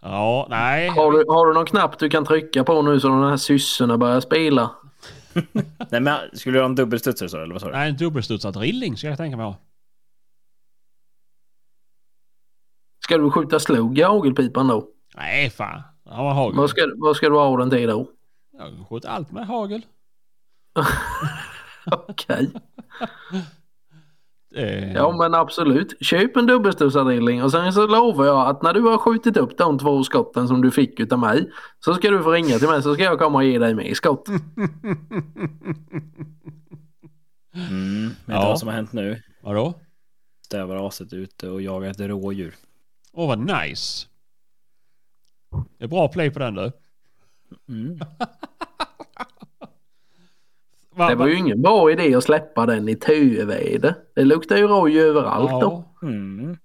S4: Ja, nej.
S3: Har du, har du någon knapp du kan trycka på nu så de här syssorna börjar spela?
S2: Nej, men skulle du ha en dubbelstudsare så eller vad sa du?
S4: Nej, en dubbelstudsad rilling ska jag tänka mig ha.
S3: Ska du skjuta slog i hagelpipan då?
S4: Nej, fan. Han var hagel.
S3: Vad ska, vad ska du ha den till då?
S4: Jag sköt allt med hagel.
S3: Okej.
S4: Eh,
S3: Ja men absolut. Köp en dubbelstudsarrilling och sen så lovar jag att när du har skjutit upp de två skotten som du fick utav mig så ska du få ringa till mig så ska jag komma och ge dig mer skott.
S2: Mm. Vet du
S4: Ja.
S2: vad som har hänt nu?
S4: Vadå?
S2: Stävraset ute och jagar ett rådjur.
S4: Åh, vad nice. Det är bra play på den du.
S2: Mm.
S4: Va-
S3: Det var ju ingen bra idé att släppa den i Tuveväder. Det luktar ju rådjur överallt då.
S4: ja.
S2: Mm.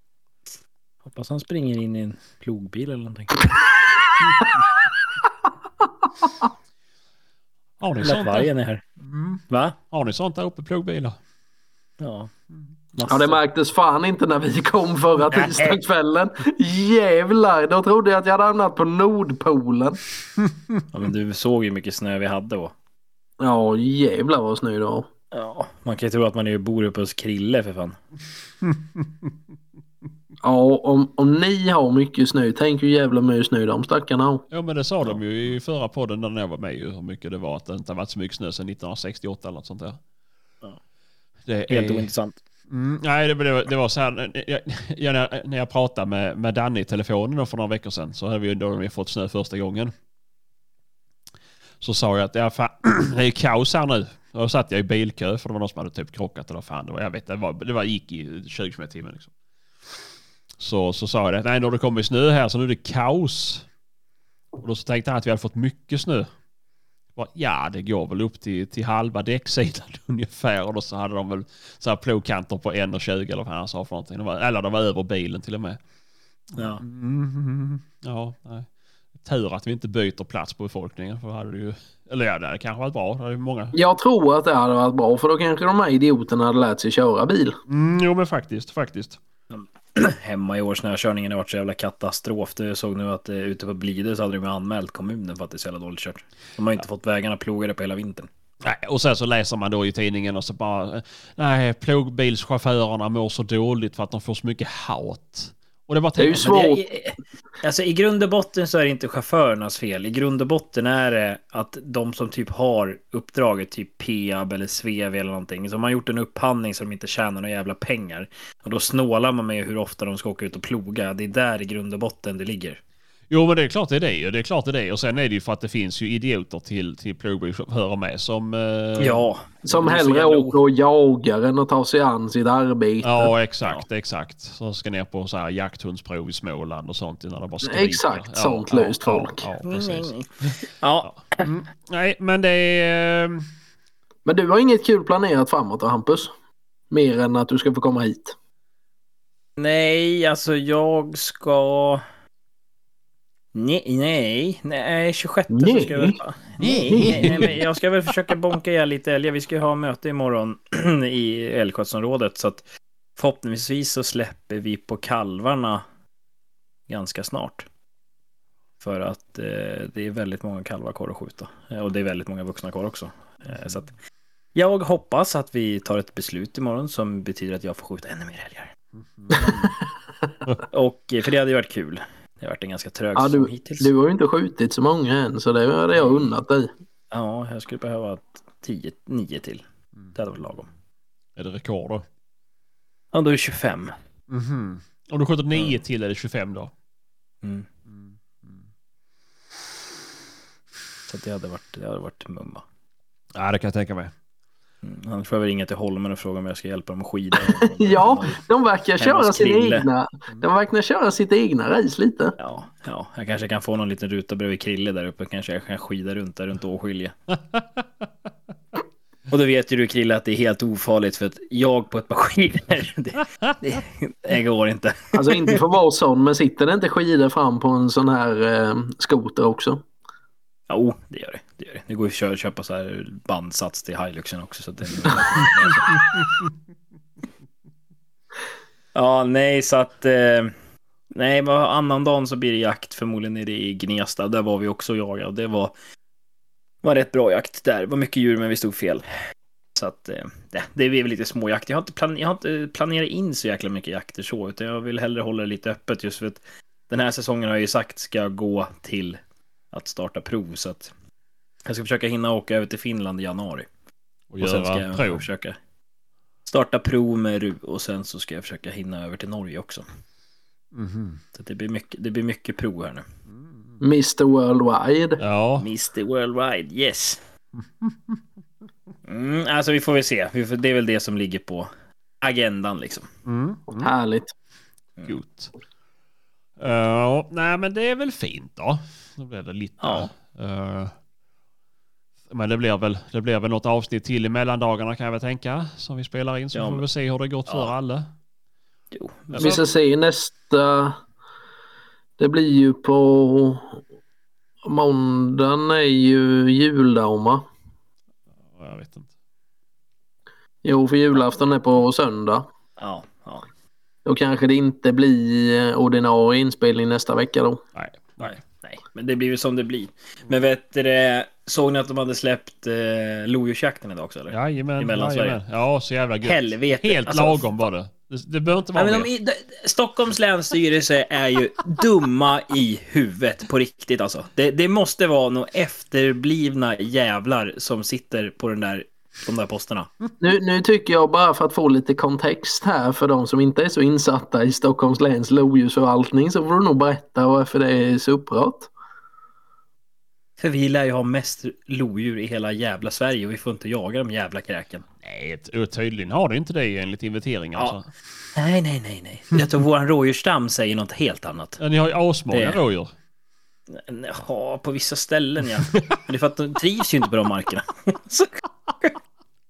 S2: Hoppas han springer in i en plogbil eller någonting.
S4: Har
S2: Eller
S4: ni
S2: att
S4: sånt där?
S2: vargen är här.
S4: Mm.
S2: Va?
S4: Har ni sånt där uppe i plogbilar?
S2: Ja.
S4: Mm.
S3: Ja det märktes fan inte när vi kom förra tisdagskvällen. Jävlar, då trodde jag att jag hade hamnat på Nordpolen.
S2: ja, men du såg ju hur mycket snö vi hade då.
S3: Ja jävlar vad snö det var.
S2: Ja. Man kan ju tro att man är bor uppe hos Krille för fan.
S3: Ja om, om ni har mycket snö, tänk hur jävla mycket snö de stackarna har.
S4: Jo men det sa de ju i förra podden när jag var med ju hur mycket det var att det inte har varit så mycket snö sedan 1968 eller något sånt där.
S2: Ja.
S4: Det
S2: Helt
S4: är...
S2: ointressant.
S4: Mm, nej, det, det, var- det var så här. eh, Jag, jag, när jag- när jag pratade med, med Danny i telefonen då för några veckor sedan så hade vi ju då vi fått snö första gången. Så sa jag att ja, fan, det är kaos här nu. Och Då satt jag i bilkö för det var någon som hade typ krockat eller fan det var. Jag vet det var, det var gick i 20 km i timmen liksom. Så, så sa jag det. Nej, nu har det kommit snö här så nu är det kaos. Och då så tänkte han att vi hade fått mycket snö. Bara, Ja, det går väl upp till, till halva däcksidan ungefär. Och då så hade de väl så här plogkanter på 1,20 eller vad han sa för någonting. De var, eller de var över bilen till och med.
S2: Ja.
S4: Mm, ja, nej. Tur att vi inte byter plats på befolkningen. För då hade det ju, eller ja, det hade kanske varit bra. Det hade ju många.
S3: Jag tror att det hade varit bra för då kanske de här idioterna hade lärt sig köra bil.
S4: Mm, jo, men faktiskt, faktiskt.
S2: Hemma i år snökörningen har varit så jävla katastrof. Du såg nu att eh, ute på Blidö så hade de ju anmält kommunen för att det är så jävla dåligt kört. De har ju inte fått vägarna plogade på hela vintern.
S4: Nej, och sen så läser man då i tidningen och så bara, nej, plogbilschaufförerna mår så dåligt för att de får så mycket hat. Och det var
S3: Det är ju
S4: tänker-
S3: svårt.
S2: Men det- alltså i grund och botten så är det inte chaufförernas fel. I grund och botten är det att de som typ har uppdraget, typ Peab eller Svev eller någonting, som har gjort en upphandling så de inte tjänar några jävla pengar. Och då snålar man med hur ofta de ska åka ut och ploga. Det är där i grund och botten det ligger.
S4: Jo men det är klart det är det ju. Det är klart det är det. Och sen är det ju för att det finns ju idioter till, till plogbilschaufförer med som... eh,
S2: Ja.
S3: Som
S2: Det är så
S3: hellre
S2: jävla
S3: åker och jagar än att ta sig an sitt arbete.
S4: Ja, exakt, exakt. Så ska ner på så här jakthundsprov i Småland och sånt innan de bara skriker.
S3: Exakt
S4: ja,
S3: sånt
S4: ja,
S3: löst
S4: ja,
S3: folk.
S4: Ja, precis.
S2: Ja,
S4: Mm, nej, men det är... eh,
S3: Men du har inget kul planerat framåt då Hampus? Mer än att du ska få komma hit.
S2: nej, alltså jag ska... Nej, nej, nej, 26 så ska jag väl... Nej, nej, nej, men jag ska väl försöka bonka ihjäl lite älgar. Vi ska ju ha möte imorgon i älgskötselområdet så att förhoppningsvis så släpper vi på kalvarna ganska snart. För att eh, det är väldigt många kalvar kvar att skjuta Eh, och det är väldigt många vuxna kvar också. Eh, så att jag hoppas att vi tar ett beslut imorgon som betyder att jag får skjuta ännu mer älgar.
S4: Mhm.
S2: Mm. och eh, för det hade ju varit kul. Det har varit en ganska trög
S3: Ja,
S2: säsong hittills.
S3: Du har ju inte skjutit så många än så det hade jag unnat dig.
S2: Mm. Ja, jag skulle behöva 10, 9 till. Det hade varit lagom.
S4: Är det rekord då? Mhm.
S2: Ja, då är det 25.
S4: Om du skjuter 9 till är det 25 då?
S2: Mm. Så att det hade varit, det hade varit mumma.
S4: Ja, det kan jag tänka mig.
S2: Mm. Annars får jag väl ringa till Holmen och fråga om jag ska hjälpa dem att skida.
S3: Ja, de verkar
S2: Hemma
S3: köra
S2: hos
S3: sina
S2: Krille.
S3: egna.
S2: Mm.
S3: De verkar köra sitt egna race lite.
S2: ja. Ja, jag kanske kan få någon liten ruta bredvid Krille där uppe. Kanske jag kan skida runt där runt Åskilje. Och då vet ju du Krille att det är helt ofarligt för att jag på ett par skidor, det, det, det går inte.
S3: Alltså inte för att vara sån men sitter det inte skidor fram på en sån här eh, skoter
S2: Mm.
S3: också?
S2: Jo, oh, det gör det. Det, gör det. det går ju att kö- köpa så här bandsats till Hiluxen också. Så att det Ja, nej, så att... Eh, nej, men annandagen så blir det jakt förmodligen nere i Gnesta. Där var vi också och jagade. Det var, var rätt bra jakt där. Det var mycket djur, men vi stod fel. Så att eh, det, det blir väl lite småjakt. Jag har, inte plan, jag har inte planerat in så jäkla mycket jakter så, utan jag vill hellre hålla det lite öppet just för att den här säsongen har jag ju sagt ska jag gå till att starta prov, så att jag ska försöka hinna åka över till Finland i januari.
S4: Och
S2: Och sen ska
S4: göra
S2: jag
S4: prov.
S2: försöka starta prov med RU och sen så ska jag försöka hinna över till Norge också.
S4: Mhm.
S2: Så att det, blir mycket, det blir mycket prov här nu.
S3: Mr Worldwide.
S4: Ja.
S2: Mr Worldwide, yes. Mm, alltså vi får väl se. Vi får, det är väl det som ligger på agendan liksom.
S4: Mm. Mm.
S3: Härligt.
S4: Gott. Ja, nej men det är väl fint då. Då blir det lite.
S2: Ja.
S4: Eh, men det blir, väl, det blir väl något avsnitt till i mellandagarna kan jag väl tänka. Som vi spelar in så
S2: Ja,
S4: får vi
S2: men-
S4: väl se hur det gått för
S2: Ja.
S4: alla.
S2: Jo.
S3: Vi ska se nästa... Det blir ju på... Måndagen är ju juldauma.
S4: Jag vet inte.
S3: Jo, för julafton är på söndag.
S2: Ja, ja.
S3: Då kanske det inte blir eh, ordinarie inspelning nästa vecka då.
S4: Nej. nej.
S2: Nej, men det blir ju som det blir. Men vet du, det, såg ni att de hade släppt eh, lodjursjakten idag också eller? I
S4: Jajamän.
S2: Mellansverige.
S4: jajamän. Ja, så jävla gött.
S2: Helvete.
S4: Helt
S2: Alltså,
S4: lagom var det. Det, det behöver inte vara
S2: Nej, men
S4: mer.
S2: de, i- de, Stockholms länsstyrelse är ju dumma i huvudet på riktigt alltså. Det, det måste vara några efterblivna jävlar som sitter på den där, de där posterna.
S3: Nu, nu tycker jag bara för att få lite kontext här för de som inte är så insatta i Stockholms läns lodjursförvaltning så får du nog berätta varför det är så upprört.
S2: För vi lär ju ha mest lodjur i hela jävla Sverige och vi får inte jaga de jävla kräken.
S4: Nej, t- tydligen har du inte det enligt inventeringen.
S2: Ja.
S4: Alltså.
S2: Nej, nej, nej, nej. Jag tror våran rådjursstam säger något helt annat.
S4: Ja, Ni har ju asmånga
S2: Det-
S4: rådjur.
S2: Ja, på vissa ställen ja. Men det är för att de trivs ju inte på de markerna. Så-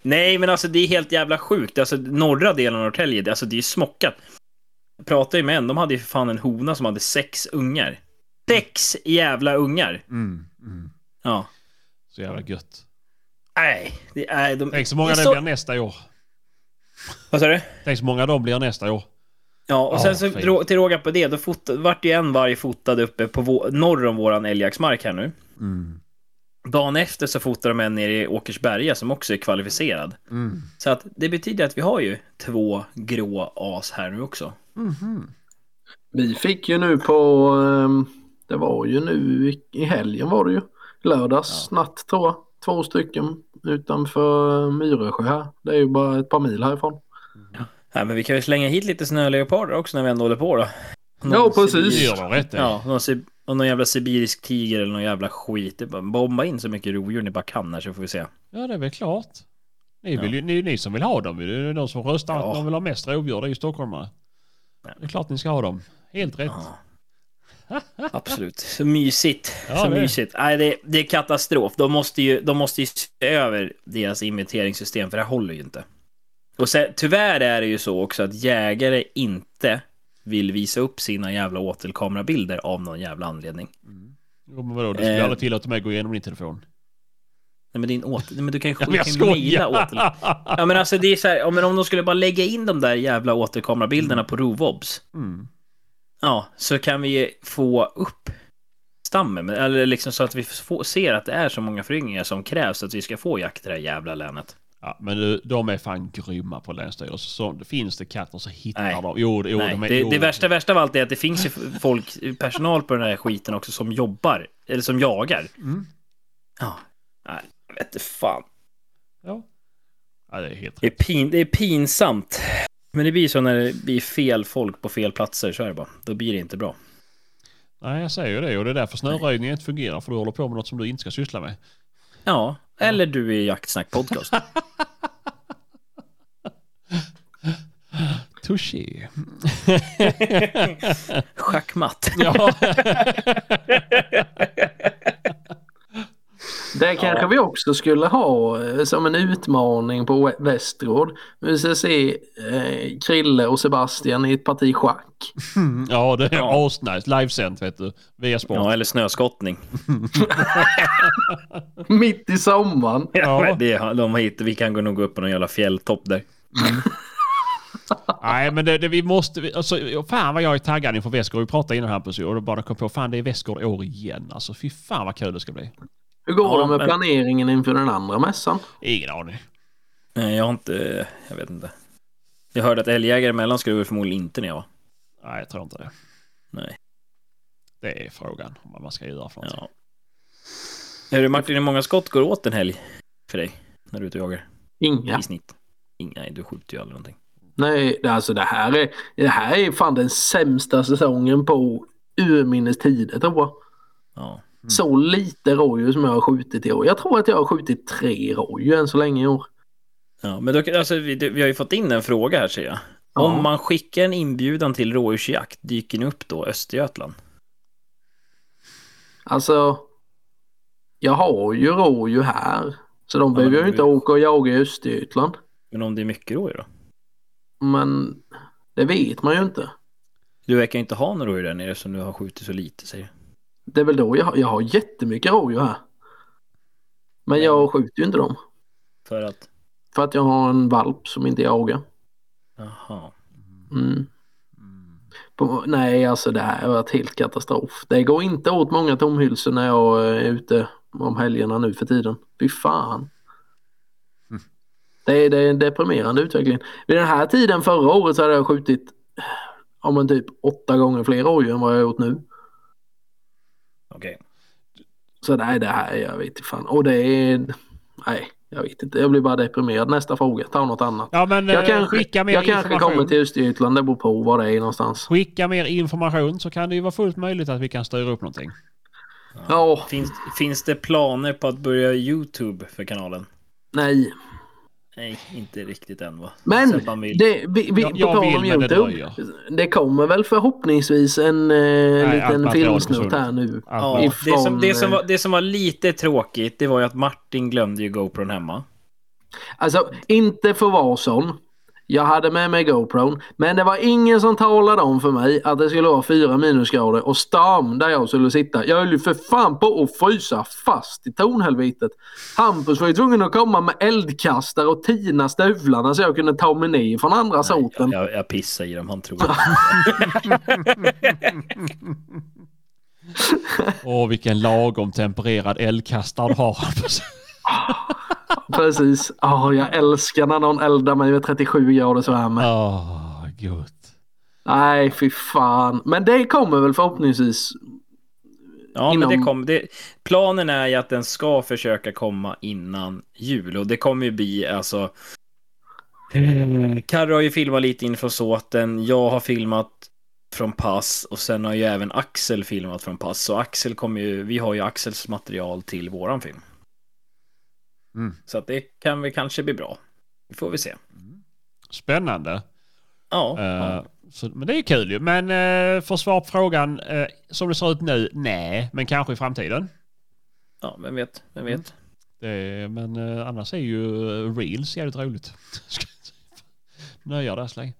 S2: Nej, men alltså det är helt jävla sjukt. Alltså norra delen av Norrtälje, det- alltså det är ju smockat. Jag pratade ju med en, de hade ju för fan en hona som hade sex ungar. Sex jävla ungar! Ja.
S4: Så jävla gött.
S2: Nej, det är de...
S4: Tänk så många
S2: det är
S4: det
S2: så-
S4: blir nästa år.
S2: Vad sa du?
S4: Tänk så många de blir nästa år.
S2: Ja, och sen
S4: Ja,
S2: så
S4: fint.
S2: rå- till råga på det, då fota, vart ju en varg fotad uppe på vå- norr om våran älgjaktsmark här nu. Dagen efter så fotar de en nere i Åkersberga som också är kvalificerad. Så att det betyder att vi har ju två grå as här nu också.
S3: Vi fick ju nu på, ehm, det var ju nu i- i helgen var det ju, lördags natt tror jag, två stycken utanför Myresjö här. Det är ju bara ett par mil härifrån.
S2: Nej, men vi kan ju slänga hit lite snöleoparder också när vi ändå håller på då.
S3: Ja, precis.
S4: Det
S2: sibirisk-
S4: gör de rätt i.
S2: Ja, någon, si- och någon jävla sibirisk tiger eller någon jävla skit. Det är bara Bomba in så mycket rovdjur ni bara kan här så får vi se.
S4: Ja, det är väl klart. Ni, vill ju, ni, ni som vill ha dem. Det är ju de som röstar
S2: Ja.
S4: att de vill ha mest rovdjur. Det är ju stockholmare. Det är klart ni ska ha dem. Helt rätt.
S2: Ja. Absolut. Så mysigt.
S4: Ja,
S2: så
S4: det är-
S2: mysigt. Nej, det, det är katastrof. De måste, ju, de måste ju se över deras inventeringssystem, för det här håller ju inte. Och sen, tyvärr är det ju så också att jägare inte vill visa upp sina jävla åtelkamerabilder av någon jävla anledning.
S4: Jo, men vadå, du skulle
S2: Eh.
S4: aldrig tillåta mig att gå igenom din telefon.
S2: Nej men din åter... Nej, men du kan ju
S4: Men
S2: skicka
S4: jag
S2: en mejla åtel...
S4: skojar!
S2: Ja men alltså det är så här, ja, men om de skulle bara lägga in de där jävla återkamerabilderna på Rovobs.
S4: Mm.
S2: Ja, så kan vi få upp stammen, men- eller liksom så att vi får, ser att det är så många föryngringar som krävs att vi ska få jakt i det här jävla länet.
S4: Ja, men du, de är fan grymma på länsstyrelsen. Så Finns det katter så hittar
S2: Nej.
S4: de. Jo, jo
S2: Nej,
S4: de är...
S2: det,
S4: jo.
S2: det värsta, värsta av allt är att det finns ju folk, personal på den här skiten också som jobbar, eller som jagar.
S4: Mm.
S2: Ja, nej, jag vet inte fan.
S4: Ja. ja, det är helt
S2: Det är, pin, det är pinsamt. Men det blir så när det blir fel folk på fel platser, så är det bara. Då blir det inte bra.
S4: Nej, jag säger ju det. Och det är därför snöröjningen inte fungerar. För du håller på med något som du inte ska syssla med.
S2: Ja, eller du i Jaktsnack podcast.
S4: Touché.
S2: Schackmatt.
S4: Ja.
S3: Det kanske vi också skulle ha eh, som en utmaning på Wä- Västgård. Vi ska se eh, Krille och Sebastian i ett parti schack.
S4: Mm. ja, det är
S2: Ja.
S4: asnice. Livesänt, vet du. Via sport.
S2: Ja, eller snöskottning.
S3: Mitt i sommaren.
S2: Ja.
S4: Ja.
S2: Men det, de har hit, vi kan gå nog gå upp på någon jävla fjälltopp där.
S4: Nej, men det, det, vi måste... vi- Alltså, fan vad jag är taggad inför Västgård. Vi pratade innan Hampus och då bara kom på fan det är Västgård i år igen. Alltså fy fan vad kul det ska bli.
S3: Hur går
S2: Ja,
S3: det med
S2: men-
S3: planeringen inför den andra mässan?
S4: Ingen aning.
S2: Nej, jag har inte... Jag vet inte. Jag hörde att älgjägare emellan skulle vi förmodligen inte när jag var.
S4: Nej, jag tror inte det.
S2: Nej.
S4: Det är frågan om vad man ska göra för någonting.
S2: Ja. Är du Martin, hur många skott går åt en helg för dig? När du är ute och jagar?
S3: Inga.
S2: I snitt? Inga, nej, du skjuter ju aldrig någonting.
S3: Nej, det- alltså det här är, det här är fan den sämsta säsongen på urminnes tider tror jag.
S2: Mm. Ja.
S3: Så lite rådjur som jag har skjutit i år. Jag tror att jag har skjutit tre rådjur än så länge i år.
S2: Ja, men då, alltså, vi, du- vi har ju fått in en fråga här ser jag.
S3: Ja.
S2: Om man skickar en inbjudan till rådjursjakt, dyker ni upp då Östergötland?
S3: Alltså, jag har ju rådjur här. Så de
S2: Ja,
S3: behöver jag
S2: men
S3: ju
S2: det
S3: inte
S2: är ju-
S3: åka och jaga i Östergötland.
S2: Men om det är mycket rådjur då?
S3: Men det vet man ju inte.
S2: Du verkar ju inte ha några rådjur där nere eftersom du har skjutit så lite säger du.
S3: Det är väl då jag, jag har jättemycket rådjur här. Men jag skjuter ju inte dem.
S2: För att?
S3: För att jag har en valp som inte jagar.
S2: Jaha.
S3: Mm. På, nej, alltså det här har varit helt katastrof. Det går inte åt många tomhylsor när jag eh, är ute om helgerna nu för tiden. Fy fan. Det är, det är en deprimerande utveckling. Vid den här tiden förra året så hade jag skjutit om en typ åtta gånger fler rådjur än vad jag har gjort nu.
S2: Okej.
S3: Så nej, det här, jag vet inte fan. Och det är... Nej, jag vet inte. Jag blir bara deprimerad. Nästa fråga, ta något annat.
S4: Ja, men
S3: Jag
S4: eh,
S3: kanske,
S4: skicka mer
S3: jag kanske
S4: information.
S3: kommer till Östergötland, det beror på var det är någonstans.
S4: Skicka mer information så kan det ju vara fullt möjligt att vi kan styra upp någonting.
S3: Ja,
S2: Finns, finns det planer på att börja YouTube för kanalen?
S3: nej.
S2: Nej, inte riktigt än va?
S3: Men
S2: Så att man vill-
S3: det, vi, vi,
S4: Jag-
S3: på
S4: jag
S3: tal
S4: vill,
S3: om
S4: men det
S3: YouTube.
S4: dröjer.
S3: Det, kommer väl förhoppningsvis en eh,
S4: allt
S3: liten
S4: material
S3: filmsnutt
S4: försvunnit.
S3: här nu.
S2: Ja,
S3: ifrån,
S2: det, som, det, som
S3: eh,
S2: var, det som var lite tråkigt, det var ju att Martin glömde ju GoPron hemma.
S3: Alltså, inte för att vara sån. Jag hade med mig GoPron, men det var ingen som talade om för mig att det skulle vara fyra minusgrader och stam där jag skulle sitta. Jag höll ju för fan på att frysa fast i tornhelvetet. Hampus var ju tvungen att komma med eldkastare och tina stövlarna så jag kunde ta mig ner från andra soten.
S2: Jag, jag pissade i dem, han tror
S4: Åh, vilken lagom tempererad eldkastare du har.
S3: Precis. Ja, jag älskar när någon eldar mig med 37 graders värme.
S4: Åh, gott.
S3: Nej, fy fan. Men det kommer väl förhoppningsvis.
S2: Ja,
S3: Inom-
S2: men det kom, det, planen är ju att den ska försöka komma innan jul och det kommer ju bli alltså.
S4: Eh.
S2: Karro har ju filmat lite in från såten. Jag har filmat från pass och sen har ju även Axel filmat från pass. Så Axel kommer ju, vi har ju Axels material till våran film.
S4: Mm.
S2: Så att det kan väl kanske bli bra. Det får vi se.
S4: Spännande.
S2: Ja,
S4: Eh,
S2: ja.
S4: så, men det är ju kul ju. Men eh, för att svara på frågan, eh, som det ser ut nu, nej. Men kanske i framtiden.
S2: ja vem vet, vem vet.
S4: Det är, men eh, annars är ju eh, reels jävligt roligt. Nöja där så länge.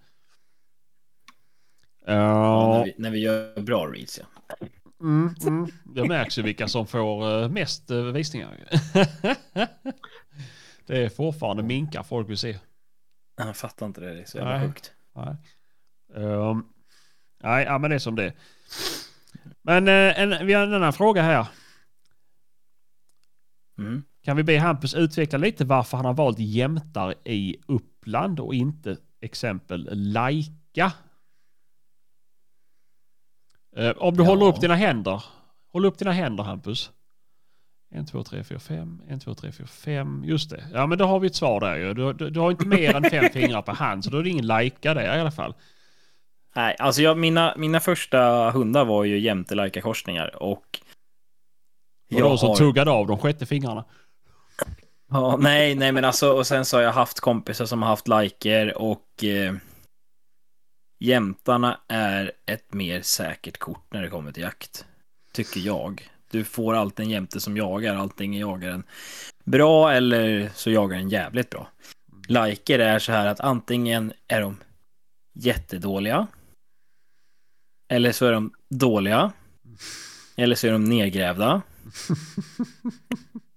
S2: Ja,
S4: Ja,
S2: när, vi, när vi gör bra reads ja.
S4: mm, mm. Det märks ju vilka som får eh, mest eh, visningar. det är fortfarande minkar folk vill se.
S2: Jag fattar inte det, det är så jävla
S4: Nej.
S2: sjukt.
S4: Nej, Ehm, nej ja, men det är som det är. Men eh, en, vi har en annan fråga här.
S2: Mm.
S4: Kan vi be Hampus utveckla lite varför han har valt jämtar i Uppland och inte exempel Laika? Eh, om du
S2: Ja.
S4: håller upp dina händer. Håll upp dina händer Hampus. 1, 2, 3, 4, 5. 1, 2, 3, 4, 5. Just det. Ja men då har vi ett svar där ju. Du, du, du har inte mer än fem fingrar på hand så då är det ingen Laika där i alla fall.
S2: Nej, alltså jag, mina, mina första hundar var ju jämte Laika-korsningar och...
S4: Och de som
S2: har-
S4: tuggade av de sjätte fingrarna.
S2: Ja, nej, nej men alltså och sen så har jag haft kompisar som har haft liker och... Eh, jämtarna är ett mer säkert kort när det kommer till jakt. Tycker jag. Du får alltid en jämte som jagar, allting jagar en bra eller så jagar den jävligt bra. Liker är så här att antingen är de jättedåliga. Eller så är de dåliga. Eller så är de nedgrävda.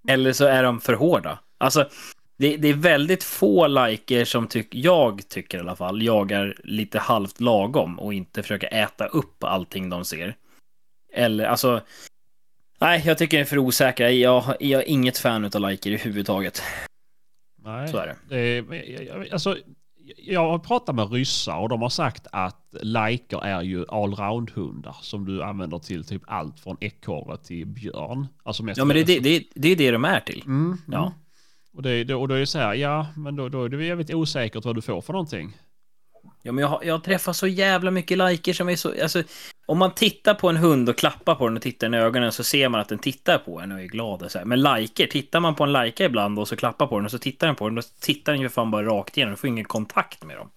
S2: Eller så är de för hårda. Alltså, det, det är väldigt få liker som tyck, jag tycker i alla fall jagar lite halvt lagom och inte försöker äta upp allting de ser. Eller alltså, nej, jag tycker det är för osäkra. Jag, jag är inget fan av liker överhuvudtaget.
S4: Nej.
S2: Så är det.
S4: Det är, men jag- jag- alltså, jag har pratat med ryssar och de har sagt att liker är ju allround-hundar som du använder till typ allt från ekorre till björn. Alltså mest
S2: Ja, men det, det, det, det är det de är till.
S4: Mm,
S2: Ja.
S4: mm. Och, det, det, och då är det så här, ja, men då, då är det jävligt osäkert vad du får för någonting.
S2: Ja, men jag, har- jag träffar så jävla mycket liker som är så... Alltså, om man tittar på en hund och klappar på den och tittar in i ögonen så ser man att den tittar på en och är glad och så här. Men liker, tittar man på en like ibland och så klappar på den och så tittar den på den, då tittar den ju fan bara rakt igenom, får ingen kontakt med dem.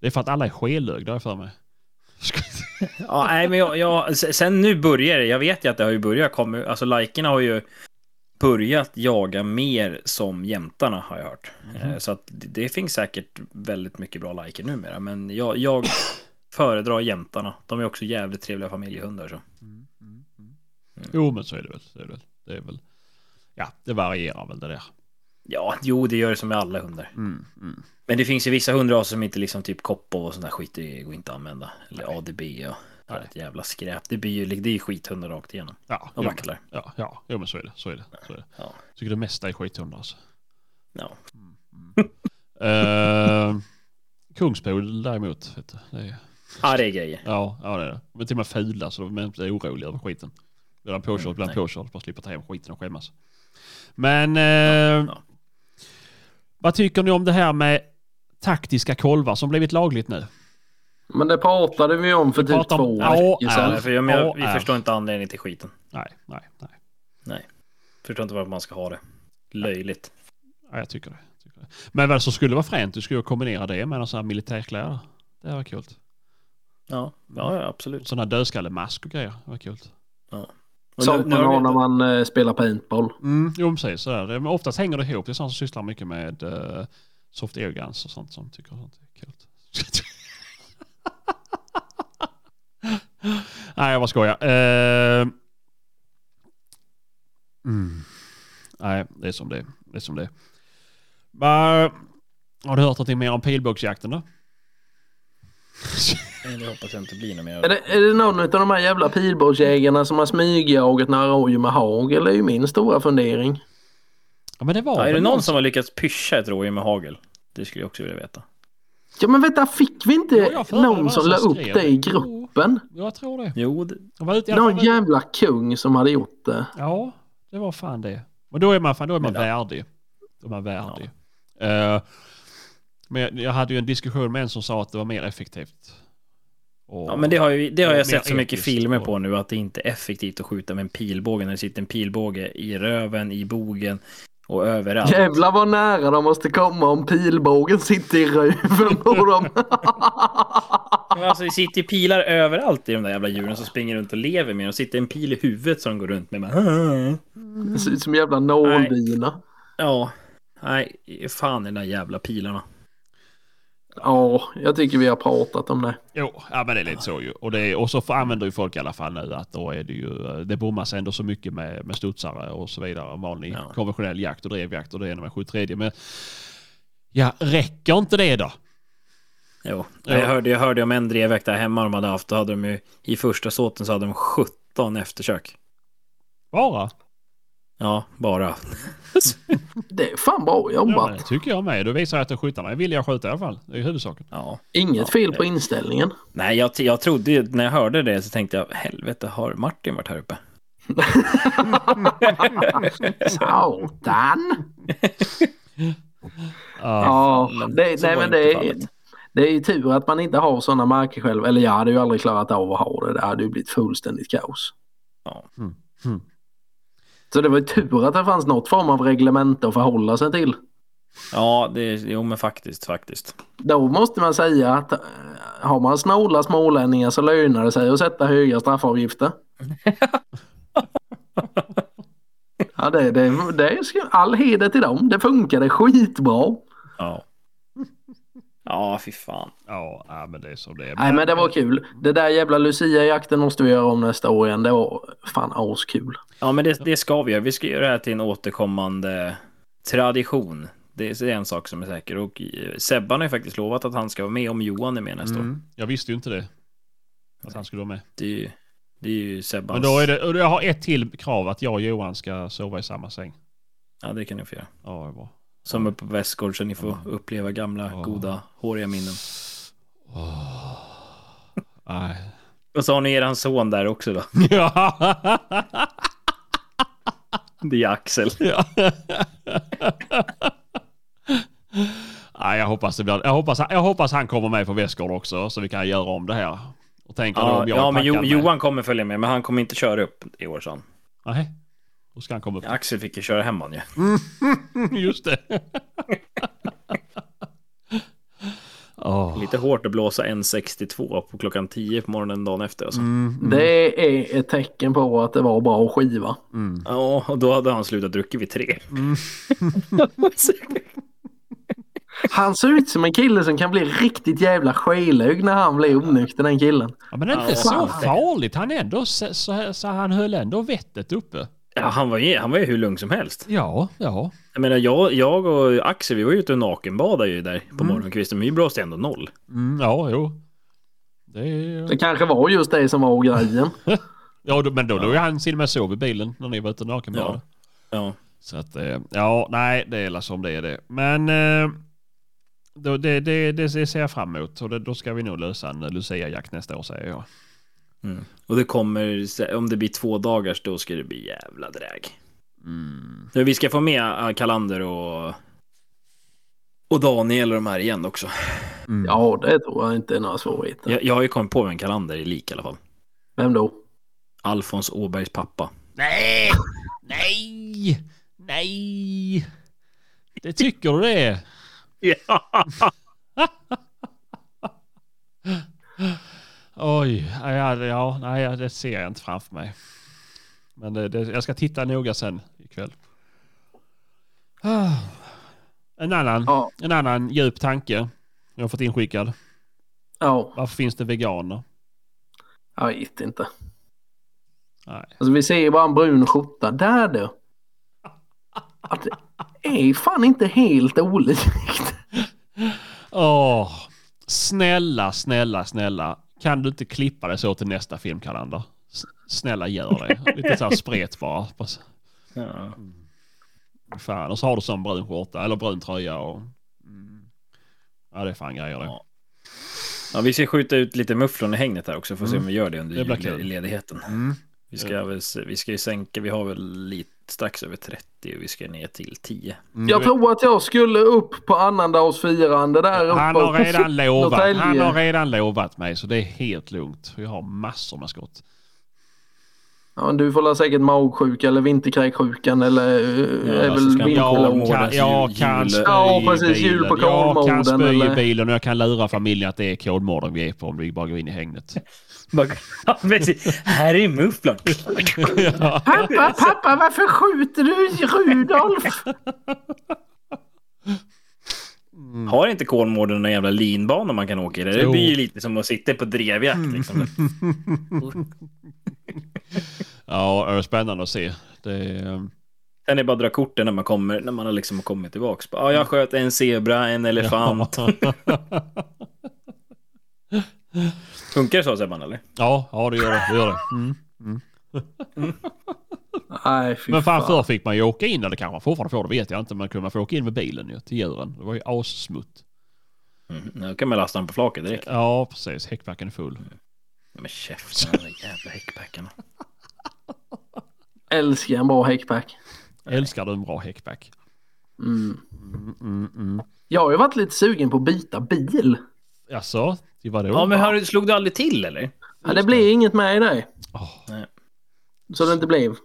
S4: Det är för att alla är skelögda har jag för mig.
S2: Ja, nej, men jag, jag, s- sen nu börjar det, jag vet ju att det har ju börjat komma, alltså likerna har ju börjat jaga mer som jämtarna har jag hört.
S4: Mhm.
S2: Eh, Så att det, det finns säkert väldigt mycket bra liker numera, men jag, jag föredrar jämtarna. De är också jävligt trevliga familjehundar så. Mm.
S4: Jo, men så är det väl. Så är det, väl. det är väl. Ja, det varierar väl det där.
S2: Ja, jo, det gör det som med alla hundar.
S4: Mm, mm.
S2: Men det finns ju vissa hundar som inte liksom typ koppo och sånt där skit, det går inte att använda. Eller ADB och
S4: Nej.
S2: ett jävla skräp. Det blir ju det är ju skithundar rakt igenom.
S4: Ja,
S2: Och
S4: jo,
S2: vacklar.
S4: men- ja, ja, jo, men så är det. Så är det. Så är det.
S2: Ja.
S4: Tycker det mesta är skithundar alltså.
S2: Ja.
S4: Eh, Kungspol däremot. Vet du. Det är,
S2: ja, det är grejer.
S4: ja, ja, det är det. De är till och med fula så de är inte oroliga över skiten. Blir påkörd,
S2: Mm,
S4: blir
S2: nej.
S4: påkörd, bara slipper ta hem skiten och skämmas. Men eh,
S2: ja.
S4: vad tycker ni om det här med taktiska kolvar som blivit lagligt nu?
S3: Men det pratade vi om för
S4: Vi
S3: typ
S4: pratar om-
S3: två
S4: Ja,
S3: veckor sedan.
S2: Ja, för jag, men jag,
S4: Ja,
S2: vi
S4: är.
S2: förstår inte anledningen till skiten.
S4: Nej, nej, nej.
S2: Förstår inte varför man ska ha det. Löjligt.
S4: Ja, jag tycker det. Jag tycker det. Men vad som skulle vara fränt, du skulle ju kombinera det med någon sån här militärkläder. Det var kul.
S2: Ja, ja, ja, absolut.
S4: Sån här dödskallemask och grejer. Det var kul.
S2: Och nu-
S3: Sånt
S2: nu
S3: man
S2: har vi-
S3: har när man eh, spelar paintball.
S4: Mm, jo, men precis. Sådär. Men oftast hänger det ihop. Det är sånt som sysslar mycket med eh, soft air guns och sånt som tycker sånt är kul. Nej, jag bara skojar. Eh, mm. Nej, det är som det är. Det är som det är. Va- Har du hört någonting mer om pilbågsjakten då?
S2: Nej, Det hoppas jag inte blir något
S3: Är
S2: mer.
S3: det, är det någon av de här jävla pilbågsjägarna som har smygjagat några rådjur med hagel? Det är ju min stora fundering.
S4: Ja, men det var
S2: Ja, är det
S4: väl
S2: någon
S4: någon-
S2: som har lyckats pyscha ett rådjur med hagel? Det skulle jag också vilja veta.
S3: Ja men vänta, fick vi inte
S4: Jo, jag får- det var
S3: någon som la
S4: som
S3: upp
S4: skrev
S3: det i
S4: det.
S3: gruppen?
S4: Jag tror det.
S2: Jo, det...
S4: Jag var ute i alla
S3: Någon
S4: fall-
S3: jävla kung som hade gjort det.
S4: Ja, det var fan det. Men då är man, fan, då är
S2: Men
S4: man
S2: då-
S4: värdig. Då är man värdig. Eh, men jag- jag hade ju en diskussion med en som sa att det var mer effektivt. Och,
S2: Ja, men det har, ju, det har
S4: Mer
S2: jag sett så mycket
S4: etiskt
S2: filmer
S4: och-
S2: på nu att det inte är effektivt att skjuta med en pilbåge när det sitter en pilbåge i röven, i bogen och överallt.
S3: Jävlar vad nära de måste komma om pilbågen sitter i röven på dem.
S2: Men alltså, det sitter ju pilar överallt i de där jävla djuren som springer runt och lever med. Och sitter en pil i huvudet som de går runt med. Bara...
S3: Det ser ut som jävla nåldyna.
S2: Ja, nej, fan i de där jävla pilarna.
S3: Ja, jag tycker vi har pratat om det.
S4: Jo, ja, men det är lite så ju. Och, det är, och så får- använder ju folk i alla fall nu att då är det ju, eh, det bommas ändå så mycket med, med studsare och så vidare. Vanlig
S2: Ja.
S4: konventionell jakt och drevjakt och det ena med 73. Men ja, räcker inte det då?
S2: Jo.
S4: Ja.
S2: Jag, hörde, jag hörde om en drevväkt där hemma de hade haft. Då hade de ju, I första såten så hade de 17 eftersök.
S4: Bara?
S2: Ja, bara.
S3: Det är fan bra
S4: Ja,
S3: jobbat.
S4: men det tycker jag med. Då visar jag att skyttarna är villiga att skjuta i alla fall. Det är ju huvudsaken.
S2: Ja.
S3: Inget fel på inställningen.
S2: Nej, jag, jag trodde ju, när jag hörde det så tänkte jag, helvete, har Martin varit här uppe?
S3: Satan!
S4: Ja.
S3: Ja, det,
S2: så
S3: nej,
S2: var
S3: men
S2: ju
S3: det,
S2: inte
S3: är-
S2: fallet.
S3: det är ju tur att man inte har sådana marker själv. Eller jag hade ju aldrig klarat av att ha det. Det hade ju blivit fullständigt kaos.
S2: Ja.
S4: Mm. Mm.
S3: Så det var ju tur att det fanns något form av reglemente att förhålla sig till.
S2: Ja, det, jo men faktiskt, faktiskt.
S3: Då måste man säga att eh, har man snåla smålänningar så lönar det sig att sätta höga straffavgifter. Ja, det, det, det är sk- all heder till dem. Det funkade skitbra.
S2: Ja. Ja, fy fan.
S4: Ja, ja, men det är som det är. Mm.
S3: Nej, men det var kul. Det där jävla Lucia-jakten måste vi göra om nästa år igen. Det var fan askul.
S2: Ja, men det, det ska vi göra. Vi ska göra det här till en återkommande tradition. Det är så det är en sak som är säker. Och eh, Sebban har ju faktiskt lovat att han ska vara med om Johan är med nästa år.
S4: Mm. Jag visste ju inte det. Att han skulle vara med.
S2: Det är ju, det är ju Sebbans...
S4: Men då är det, och jag har ett till krav att jag och Johan ska sova i samma säng.
S2: Ja, det kan ni få göra.
S4: Ja, det är bra.
S2: Som uppe på Västgård så ni får uppleva gamla,
S4: Ja.
S2: goda, håriga minnen.
S4: Ah. Nej.
S2: Och så har ni eran son där också då.
S4: Ja.
S2: Det är Axel.
S4: Nej, jag hoppas det blir, jag hoppas, jag hoppas han kommer med på Västgård också så vi kan göra om det här. Och tänka då
S2: Ja,
S4: om jag
S2: ja
S4: är
S2: men jo,
S4: packad med.
S2: Johan kommer följa med, men han kommer inte köra upp i år, sa han.
S4: Nej. Då ska han komma upp.
S2: Axel fick ju köra hem han ju.
S4: Just det. Åh.
S2: Lite hårt att blåsa 1.62 på klockan 10 på morgonen dagen efter. Alltså.
S4: Mm.
S3: Det är ett tecken på att det var bra skiva.
S2: Ja, och då hade han slutat dricka vid tre.
S4: Mm.
S3: Han ser ut som en kille som kan bli riktigt jävla skilög när han blir onykter den killen.
S4: Ja, men det är inte
S2: Ja,
S4: så
S2: fan.
S4: farligt. Han, är ändå, så, så, så han höll ändå vettet uppe.
S2: ja, han, var ju, han var ju hur lugn som helst.
S4: Ja, ja.
S2: Jag menar, jag, jag och Axel, vi var ju ute och nakenbadade ju där på morgonkvisten, men vi blåste ändå noll.
S4: Mm, ja, jo. Det är,
S3: Det kanske var just det som var grejen.
S4: ja, då- men då låg han till och med sov i bilen när ni var ute naken
S2: Ja.
S4: ja.
S2: Ja.
S4: Så att, eh, ja, nej, det är la som det är det. Men eh, då, det, det, det ser jag fram emot. Och det, då ska vi nog lösa en Lucia-jakt nästa år, säger jag.
S2: Och det kommer, om det blir två dagars, då ska det bli jävla dräg.
S4: Mm.
S2: Men Vi ska få med eh, Kalander och, och Daniel och de här igen också.
S4: Mm.
S3: Ja, det tror jag inte är några svårigheter.
S2: Jag, jag har ju kommit på vem Kalander är lik i alla fall.
S3: Vem då?
S2: Alfons Åbergs pappa.
S4: Nej! Nej! Nej! Det tycker du det? Oj, ja, ja, ja, nej, ja, det ser jag inte framför mig. Men det, det, jag ska titta noga sen ikväll. Ah. En annan,
S3: Ja.
S4: en annan djup tanke jag har fått inskickad.
S3: Ja,
S4: Varför finns det veganer?
S3: jag vet inte.
S4: Nej.
S3: Alltså vi ser ju bara en brun skjorta. Där du! Att det är fan inte helt olikt.
S4: Åh, snälla, snälla, snälla. Kan du inte klippa det så till nästa filmkalender? S- Snälla gör det. Lite så här spret bara. Bara så-
S2: Ja.
S4: Fan, och så har du sån brun skjorta eller brun tröja och... Mm. Ja, det är fan grejer det.
S2: Ja. ja, vi ska skjuta ut lite mufflon i hängnet här också, får se om vi gör Mm. det under
S4: Det blir
S2: jul-
S4: kul.
S2: ledigheten. Vi ska, väl, se- vi ska ju sänka, vi har väl lite strax över 30 och vi ska ner till 10.
S3: Jag tror att jag skulle upp på annandagsfirande där uppe.
S4: Han har redan lovat.
S3: Norrtälje.
S4: Han har redan lovat mig så det är helt lugnt. Jag har massor med skott.
S3: Ja, men du får la säkert magsjuka eller vinterkräksjukan eller... eh, är
S2: alltså,
S3: väl
S2: ska man-
S3: vinterlögn.
S4: Jag
S2: Kolmårdens
S4: kan, jag
S2: jul-
S4: kan
S2: jul-
S4: spy
S3: Ja,
S4: i
S3: precis, jul på
S4: bilen. Jag kan
S3: Kolmården,
S4: spy i
S3: eller?
S4: bilen och jag kan lura familjen att det är Kolmården vi är på om vi bara går in i hängnet.
S2: Ja, precis. Här är mufflon.
S3: Pappa, pappa, varför skjuter du Rudolf?
S2: Mm. Har inte Kolmården någon jävla linbana man kan åka i? Det
S4: Jo. Mm.
S2: blir ju lite som att sitta på drevjakt. Liksom.
S4: Ja, det är spännande att se. Det är, ehm,
S2: Sen är det bara att dra korten när man kommer, när man har liksom kommit tillbaks. Ja,
S4: Mm.
S2: jag sköt en zebra, en elefant. Funkar det så Sebban eller?
S4: ja, ja, det gör det. det, gör det. Mm.
S3: Nej, fy
S4: Men fan, förr fick man ju åka in, eller kanske man fortfarande får, det vet jag inte. Men kunde man få åka in med bilen ju, till djuren. Det var ju assmutt.
S2: Mm. Nu kan man lasta den på flaket direkt.
S4: Ja, precis. Häckbacken är full.
S2: Ja, Men käften, de där jävla häckbackarna.
S3: Älskar en bra häckback.
S4: Älskar du en bra häckback?
S3: Mm.
S4: Mm, mm.
S3: Jag har ju varit lite sugen på att byta bil.
S4: Jaså, till vadå?
S2: Ja, men har du, slog du aldrig till
S4: Mm.
S2: eller?
S3: Ja, det blev inget med i det.
S4: Åh.
S2: Nej.
S3: Så det inte blev.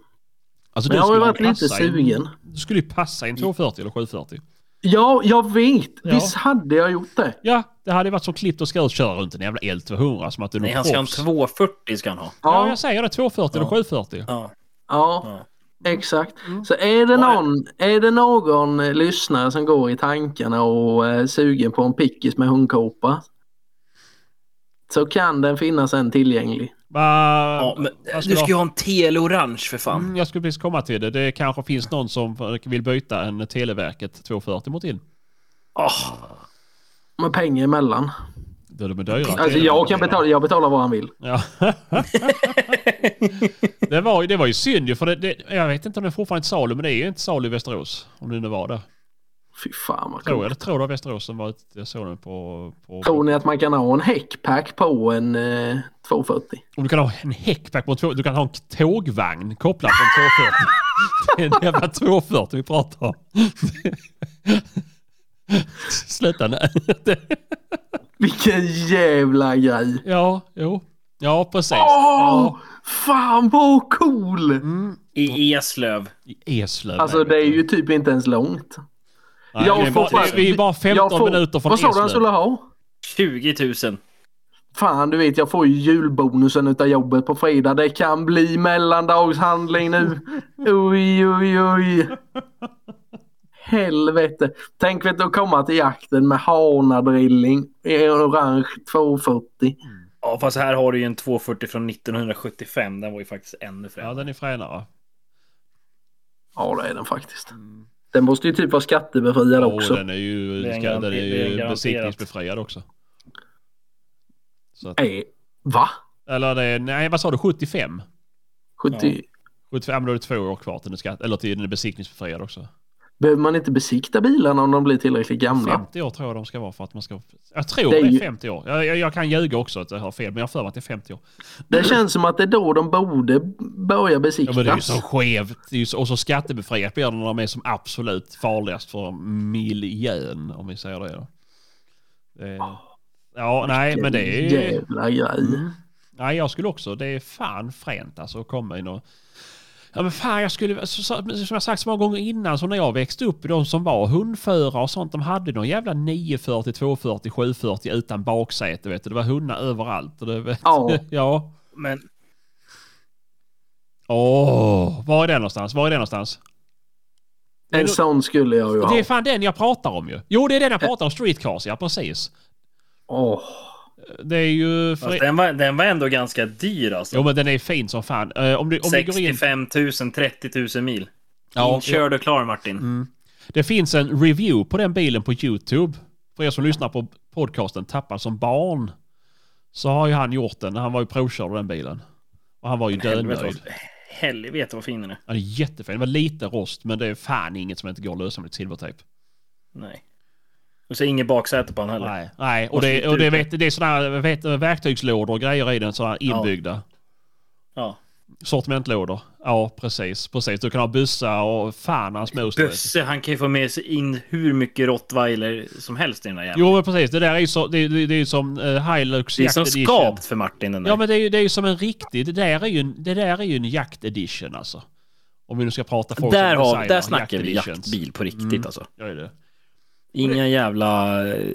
S4: Alltså,
S3: Men jag har ju
S4: skulle
S3: varit lite
S4: passa i en-
S3: sugen.
S4: Du skulle ju passa i en 240 eller 740.
S3: Ja, jag vet.
S4: Ja.
S3: Visst hade jag gjort det.
S4: Ja, det hade ju varit som klippt och skuret köra runt en jävla L200 som att du är
S2: Nej,
S4: någon
S2: han ska ha en
S4: proffs.
S2: 240 ska han ha.
S4: Ja,
S3: Ja,
S4: jag säger det. 240 eller 740.
S2: Ja.
S3: ja, exakt.
S4: Mm.
S3: Så är det någon, är det någon eh, lyssnare som går i tankarna och är sugen på en pickis med hundkåpa så kan den finnas en tillgänglig.
S4: Va,
S2: Ja, men
S4: vad
S2: du
S4: skulle
S2: ska ju
S4: jag...
S2: ha en teleorange för fan.
S4: Mm, jag skulle precis komma till det. Det kanske finns någon som vill byta en Televerket 240 mot din.
S2: Åh,
S3: Med pengar emellan.
S4: Då är de dyrare.
S3: Alltså jag kan betala, jag betalar vad han vill.
S4: Ja. det, var, ju- det var ju synd ju, för det, det, jag vet inte om det är fortfarande är salu, men det är ju inte salu i Västerås. Om det nu var där.
S3: Fy fan vad
S4: Tror
S3: coolt.
S4: jag, jag tror det var Västerås som var ute. Jag såg den på... på,
S3: Tror ni att man kan ha en häckpack på en eh, 240?
S4: Om du kan ha en häckback på en två, Du kan ha en tågvagn kopplad på en 240. det är en jävla 240 vi pratar om. Sluta nu.
S3: Vilken jävla grej!
S4: ja, jo. Ja, precis.
S3: Åh!
S4: Ja.
S3: Fan vad cool!
S4: Mm.
S2: I Eslöv.
S4: I Eslöv.
S3: Alltså det är ju typ inte ens långt.
S4: Nej,
S3: jag
S4: det är
S3: får
S4: bara-
S3: faktiskt-
S4: Vi är bara 15
S3: Jag får-
S4: minuter från E
S3: Vad sa du han
S4: Eslöv.
S3: skulle ha?
S2: 20 000.
S3: Fan du vet jag får ju julbonusen utav jobbet på fredag. Det kan bli mellandagshandling nu. Oj oj oj. Helvete. Tänk vet du att komma till jakten med hanadrilling i en orange 240.
S2: Ja, fast här har du ju en 240 från 1975. Den var ju faktiskt ännu
S4: Ja,
S2: frän.
S4: den är fränare.
S3: Ja det är den faktiskt. Den måste ju typ vara skattebefriad också.
S4: Och Mm. den är ju,
S2: Det är en
S4: ska- den är
S2: garanti- det är en
S4: ju
S2: garanterat.
S4: besiktningsbefriad också. Så att,
S3: Nej. Va?
S4: eller det är, nej, vad sa du? 75?
S3: 70?
S4: 75, ja, men då är det två år kvar till den ska, eller till den är besiktningsbefriad också.
S3: Mm, Behöver man inte besikta bilarna om de blir tillräckligt gamla?
S4: 50 år tror jag de ska vara för att man ska... Jag tror
S3: Det
S4: det
S3: är
S4: är,
S3: ju-
S4: 50 år. Jag, jag, jag kan ljuga också att jag har fel, men jag har för mig att det är 50 år.
S3: Det känns som att det är då de borde börja
S4: Ja,
S3: besiktas.
S4: men det är ju så skevt. Det är ju så, och så skattebefriat blir det när de är som absolut farligast för miljön, om vi säger det. Då. det ja, nej, men det är ju...
S3: Jävla
S4: Mm.
S3: grej.
S4: Nej, jag skulle också. Det är fan fränt alltså att komma in och... Ja, men fan, jag skulle... så- så- Som jag sagt så många gånger innan, så när jag växte upp, de som var hundförare och sånt, de hade någon jävla 940, 240, 740 utan baksäte, vet du. Det var hundar överallt. Och det, vet,
S3: Ja.
S4: ja.
S2: Men
S4: Åh, var är den någonstans? Var är den någonstans?
S3: En sån skulle jag ju
S4: Det
S3: ha.
S4: är fan den jag pratar om ju. Jo, det är den jag pratar om. Streetcars, ja precis.
S3: Åh,
S4: Det är ju... För...
S2: fast den, var, den var ändå ganska dyr alltså.
S4: Jo, men den är fin som fan. Eh, Om du, om du går in...
S2: 65 000, 30 000 mil.
S4: Ja, Mm,
S2: Inkörd och klar Martin.
S4: Det finns en review på den bilen på YouTube. För er som lyssnar på podcasten Tappad som barn. Så har ju han gjort den. Han var ju provkörd av den bilen. Och han var ju
S2: Helvete,
S4: dödnöjd.
S2: vad, helvete vad fin den är.
S4: Han är jättefin. Det var lite rost men det är fan inget som inte går att lösa med ett silvertejp.
S2: Nej. Och så inget baksäte på den heller.
S4: Nej, nej. Och, det, och det, vet, det är sådana vet, verktygslådor och grejer i den. Sådana inbyggda.
S2: Ja.
S4: Sortimentlådor. Ja, precis. Precis. Du kan ha bössa och fan hans mos. du vet.
S2: Bösse, han kan ju få med sig in hur mycket rottweiler som helst i den där jäveln.
S4: Jo, men precis. Det där är ju så, det, det, det är ju som uh, Hilux
S2: Det är som
S4: Jack Edition.
S2: skapt för Martin den där.
S4: Ja men det är ju, det är ju som en riktig, det där är ju en, det där är ju en jakt edition alltså. Om vi nu ska prata folk
S2: där,
S4: som
S2: har,
S4: designar
S2: där snackar vi
S4: jakteditions.
S2: jaktbil på riktigt alltså.
S4: Ja, det är det.
S2: Inga jävla eh,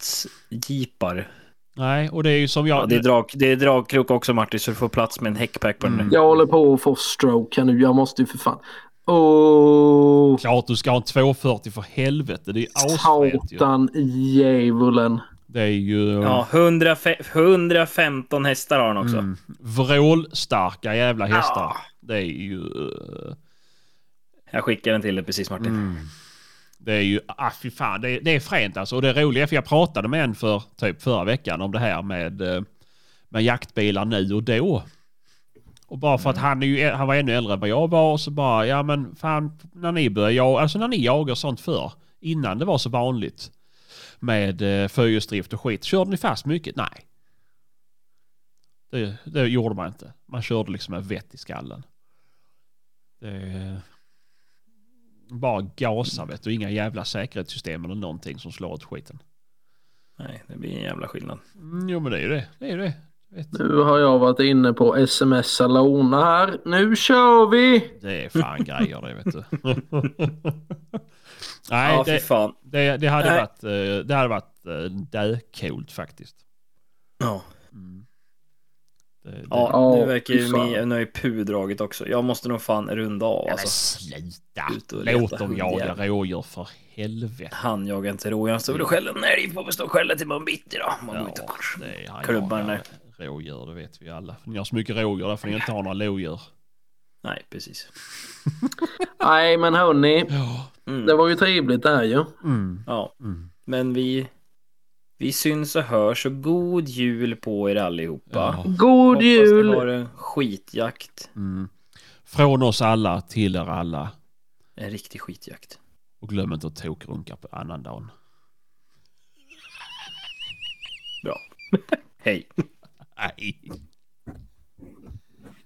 S2: stadsjeepar.
S4: Nej, och det är ju som jag...
S2: Ja, det, är drag, det är dragkrok också Martin, så du får plats med en häckpack på den där.
S3: jag håller på att få stroke här nu. Jag måste ju för fan. Åh,
S4: Klart du ska ha en 240 för helvete. Det är ju asfett ju.
S3: satan i djävulen.
S4: Det är ju...
S2: Ja, 100, 115 hästar har han också.
S4: Mm, vrålstarka jävla hästar. Det är ju... eh,
S2: Jag skickar den till dig precis Martin.
S4: Mm. Det är ju, ah fy fan, det är, det är fränt alltså. Och det roliga, för jag pratade med en för typ förra veckan om det här med, eh, med jaktbilar nu och då. Och bara för att han, är ju, han var ännu äldre än vad jag var och så bara, ja men fan, när ni började jag, alltså när ni jagar sånt för innan det var så vanligt med eh, fyrhjulsdrift och skit, körde ni fast mycket? Nej. Det, det gjorde man inte. Man körde liksom med vett i skallen. Det, bara gasa vet du. Inga jävla säkerhetssystem eller någonting som slår åt skiten.
S2: Nej, det blir en jävla skillnad.
S4: Mm, jo men det är ju det. Det är ju det. Vet. du.
S3: Nu har jag varit inne på sms Alona här. Nu kör vi!
S4: Det är fan grejer det vet du.
S2: Nej,
S4: Nej,
S2: ja, fy
S4: det,
S2: fan.
S4: det, det hade
S2: Nej.
S4: varit, eh, det hade varit eh, döcoolt faktiskt.
S2: Ja.
S4: Mm. Det, det,
S2: Ja,
S3: Ja,
S2: nu verkar
S3: fy
S2: ju
S3: fan.
S2: mi- nu är ju Pu dragit också. Jag måste nog fan runda av
S4: Nej, men
S2: alltså.
S4: sluta.
S2: Ut och leta
S4: Låt dem jaga
S2: hundjävlar.
S4: rådjur för helvete.
S2: Han jagar inte rådjur, han stod och skällde. Nej, vi får väl stå och skälla till morgon bitti då. Man går
S4: Ja,
S2: ut och
S4: det är- han
S2: klubbar
S4: jagar
S2: ner.
S4: rådjur, det vet vi alla. Ni har så mycket rådjur därför ni inte har några lodjur.
S2: Nej, precis.
S3: Nej, men hörni.
S4: Ja.
S2: Mm.
S3: Det var ju trevligt det här ju.
S4: Mm.
S2: Ja,
S4: Mm.
S2: men vi, vi syns och hörs och god jul på er allihopa.
S4: Ja.
S3: God
S2: Hoppas ni har
S3: jul!
S2: en skitjakt.
S4: Mm. Från oss alla till er alla.
S2: En riktig skitjakt.
S4: Och glöm inte att tokrunka på annandagen.
S2: Hej.
S4: Nej.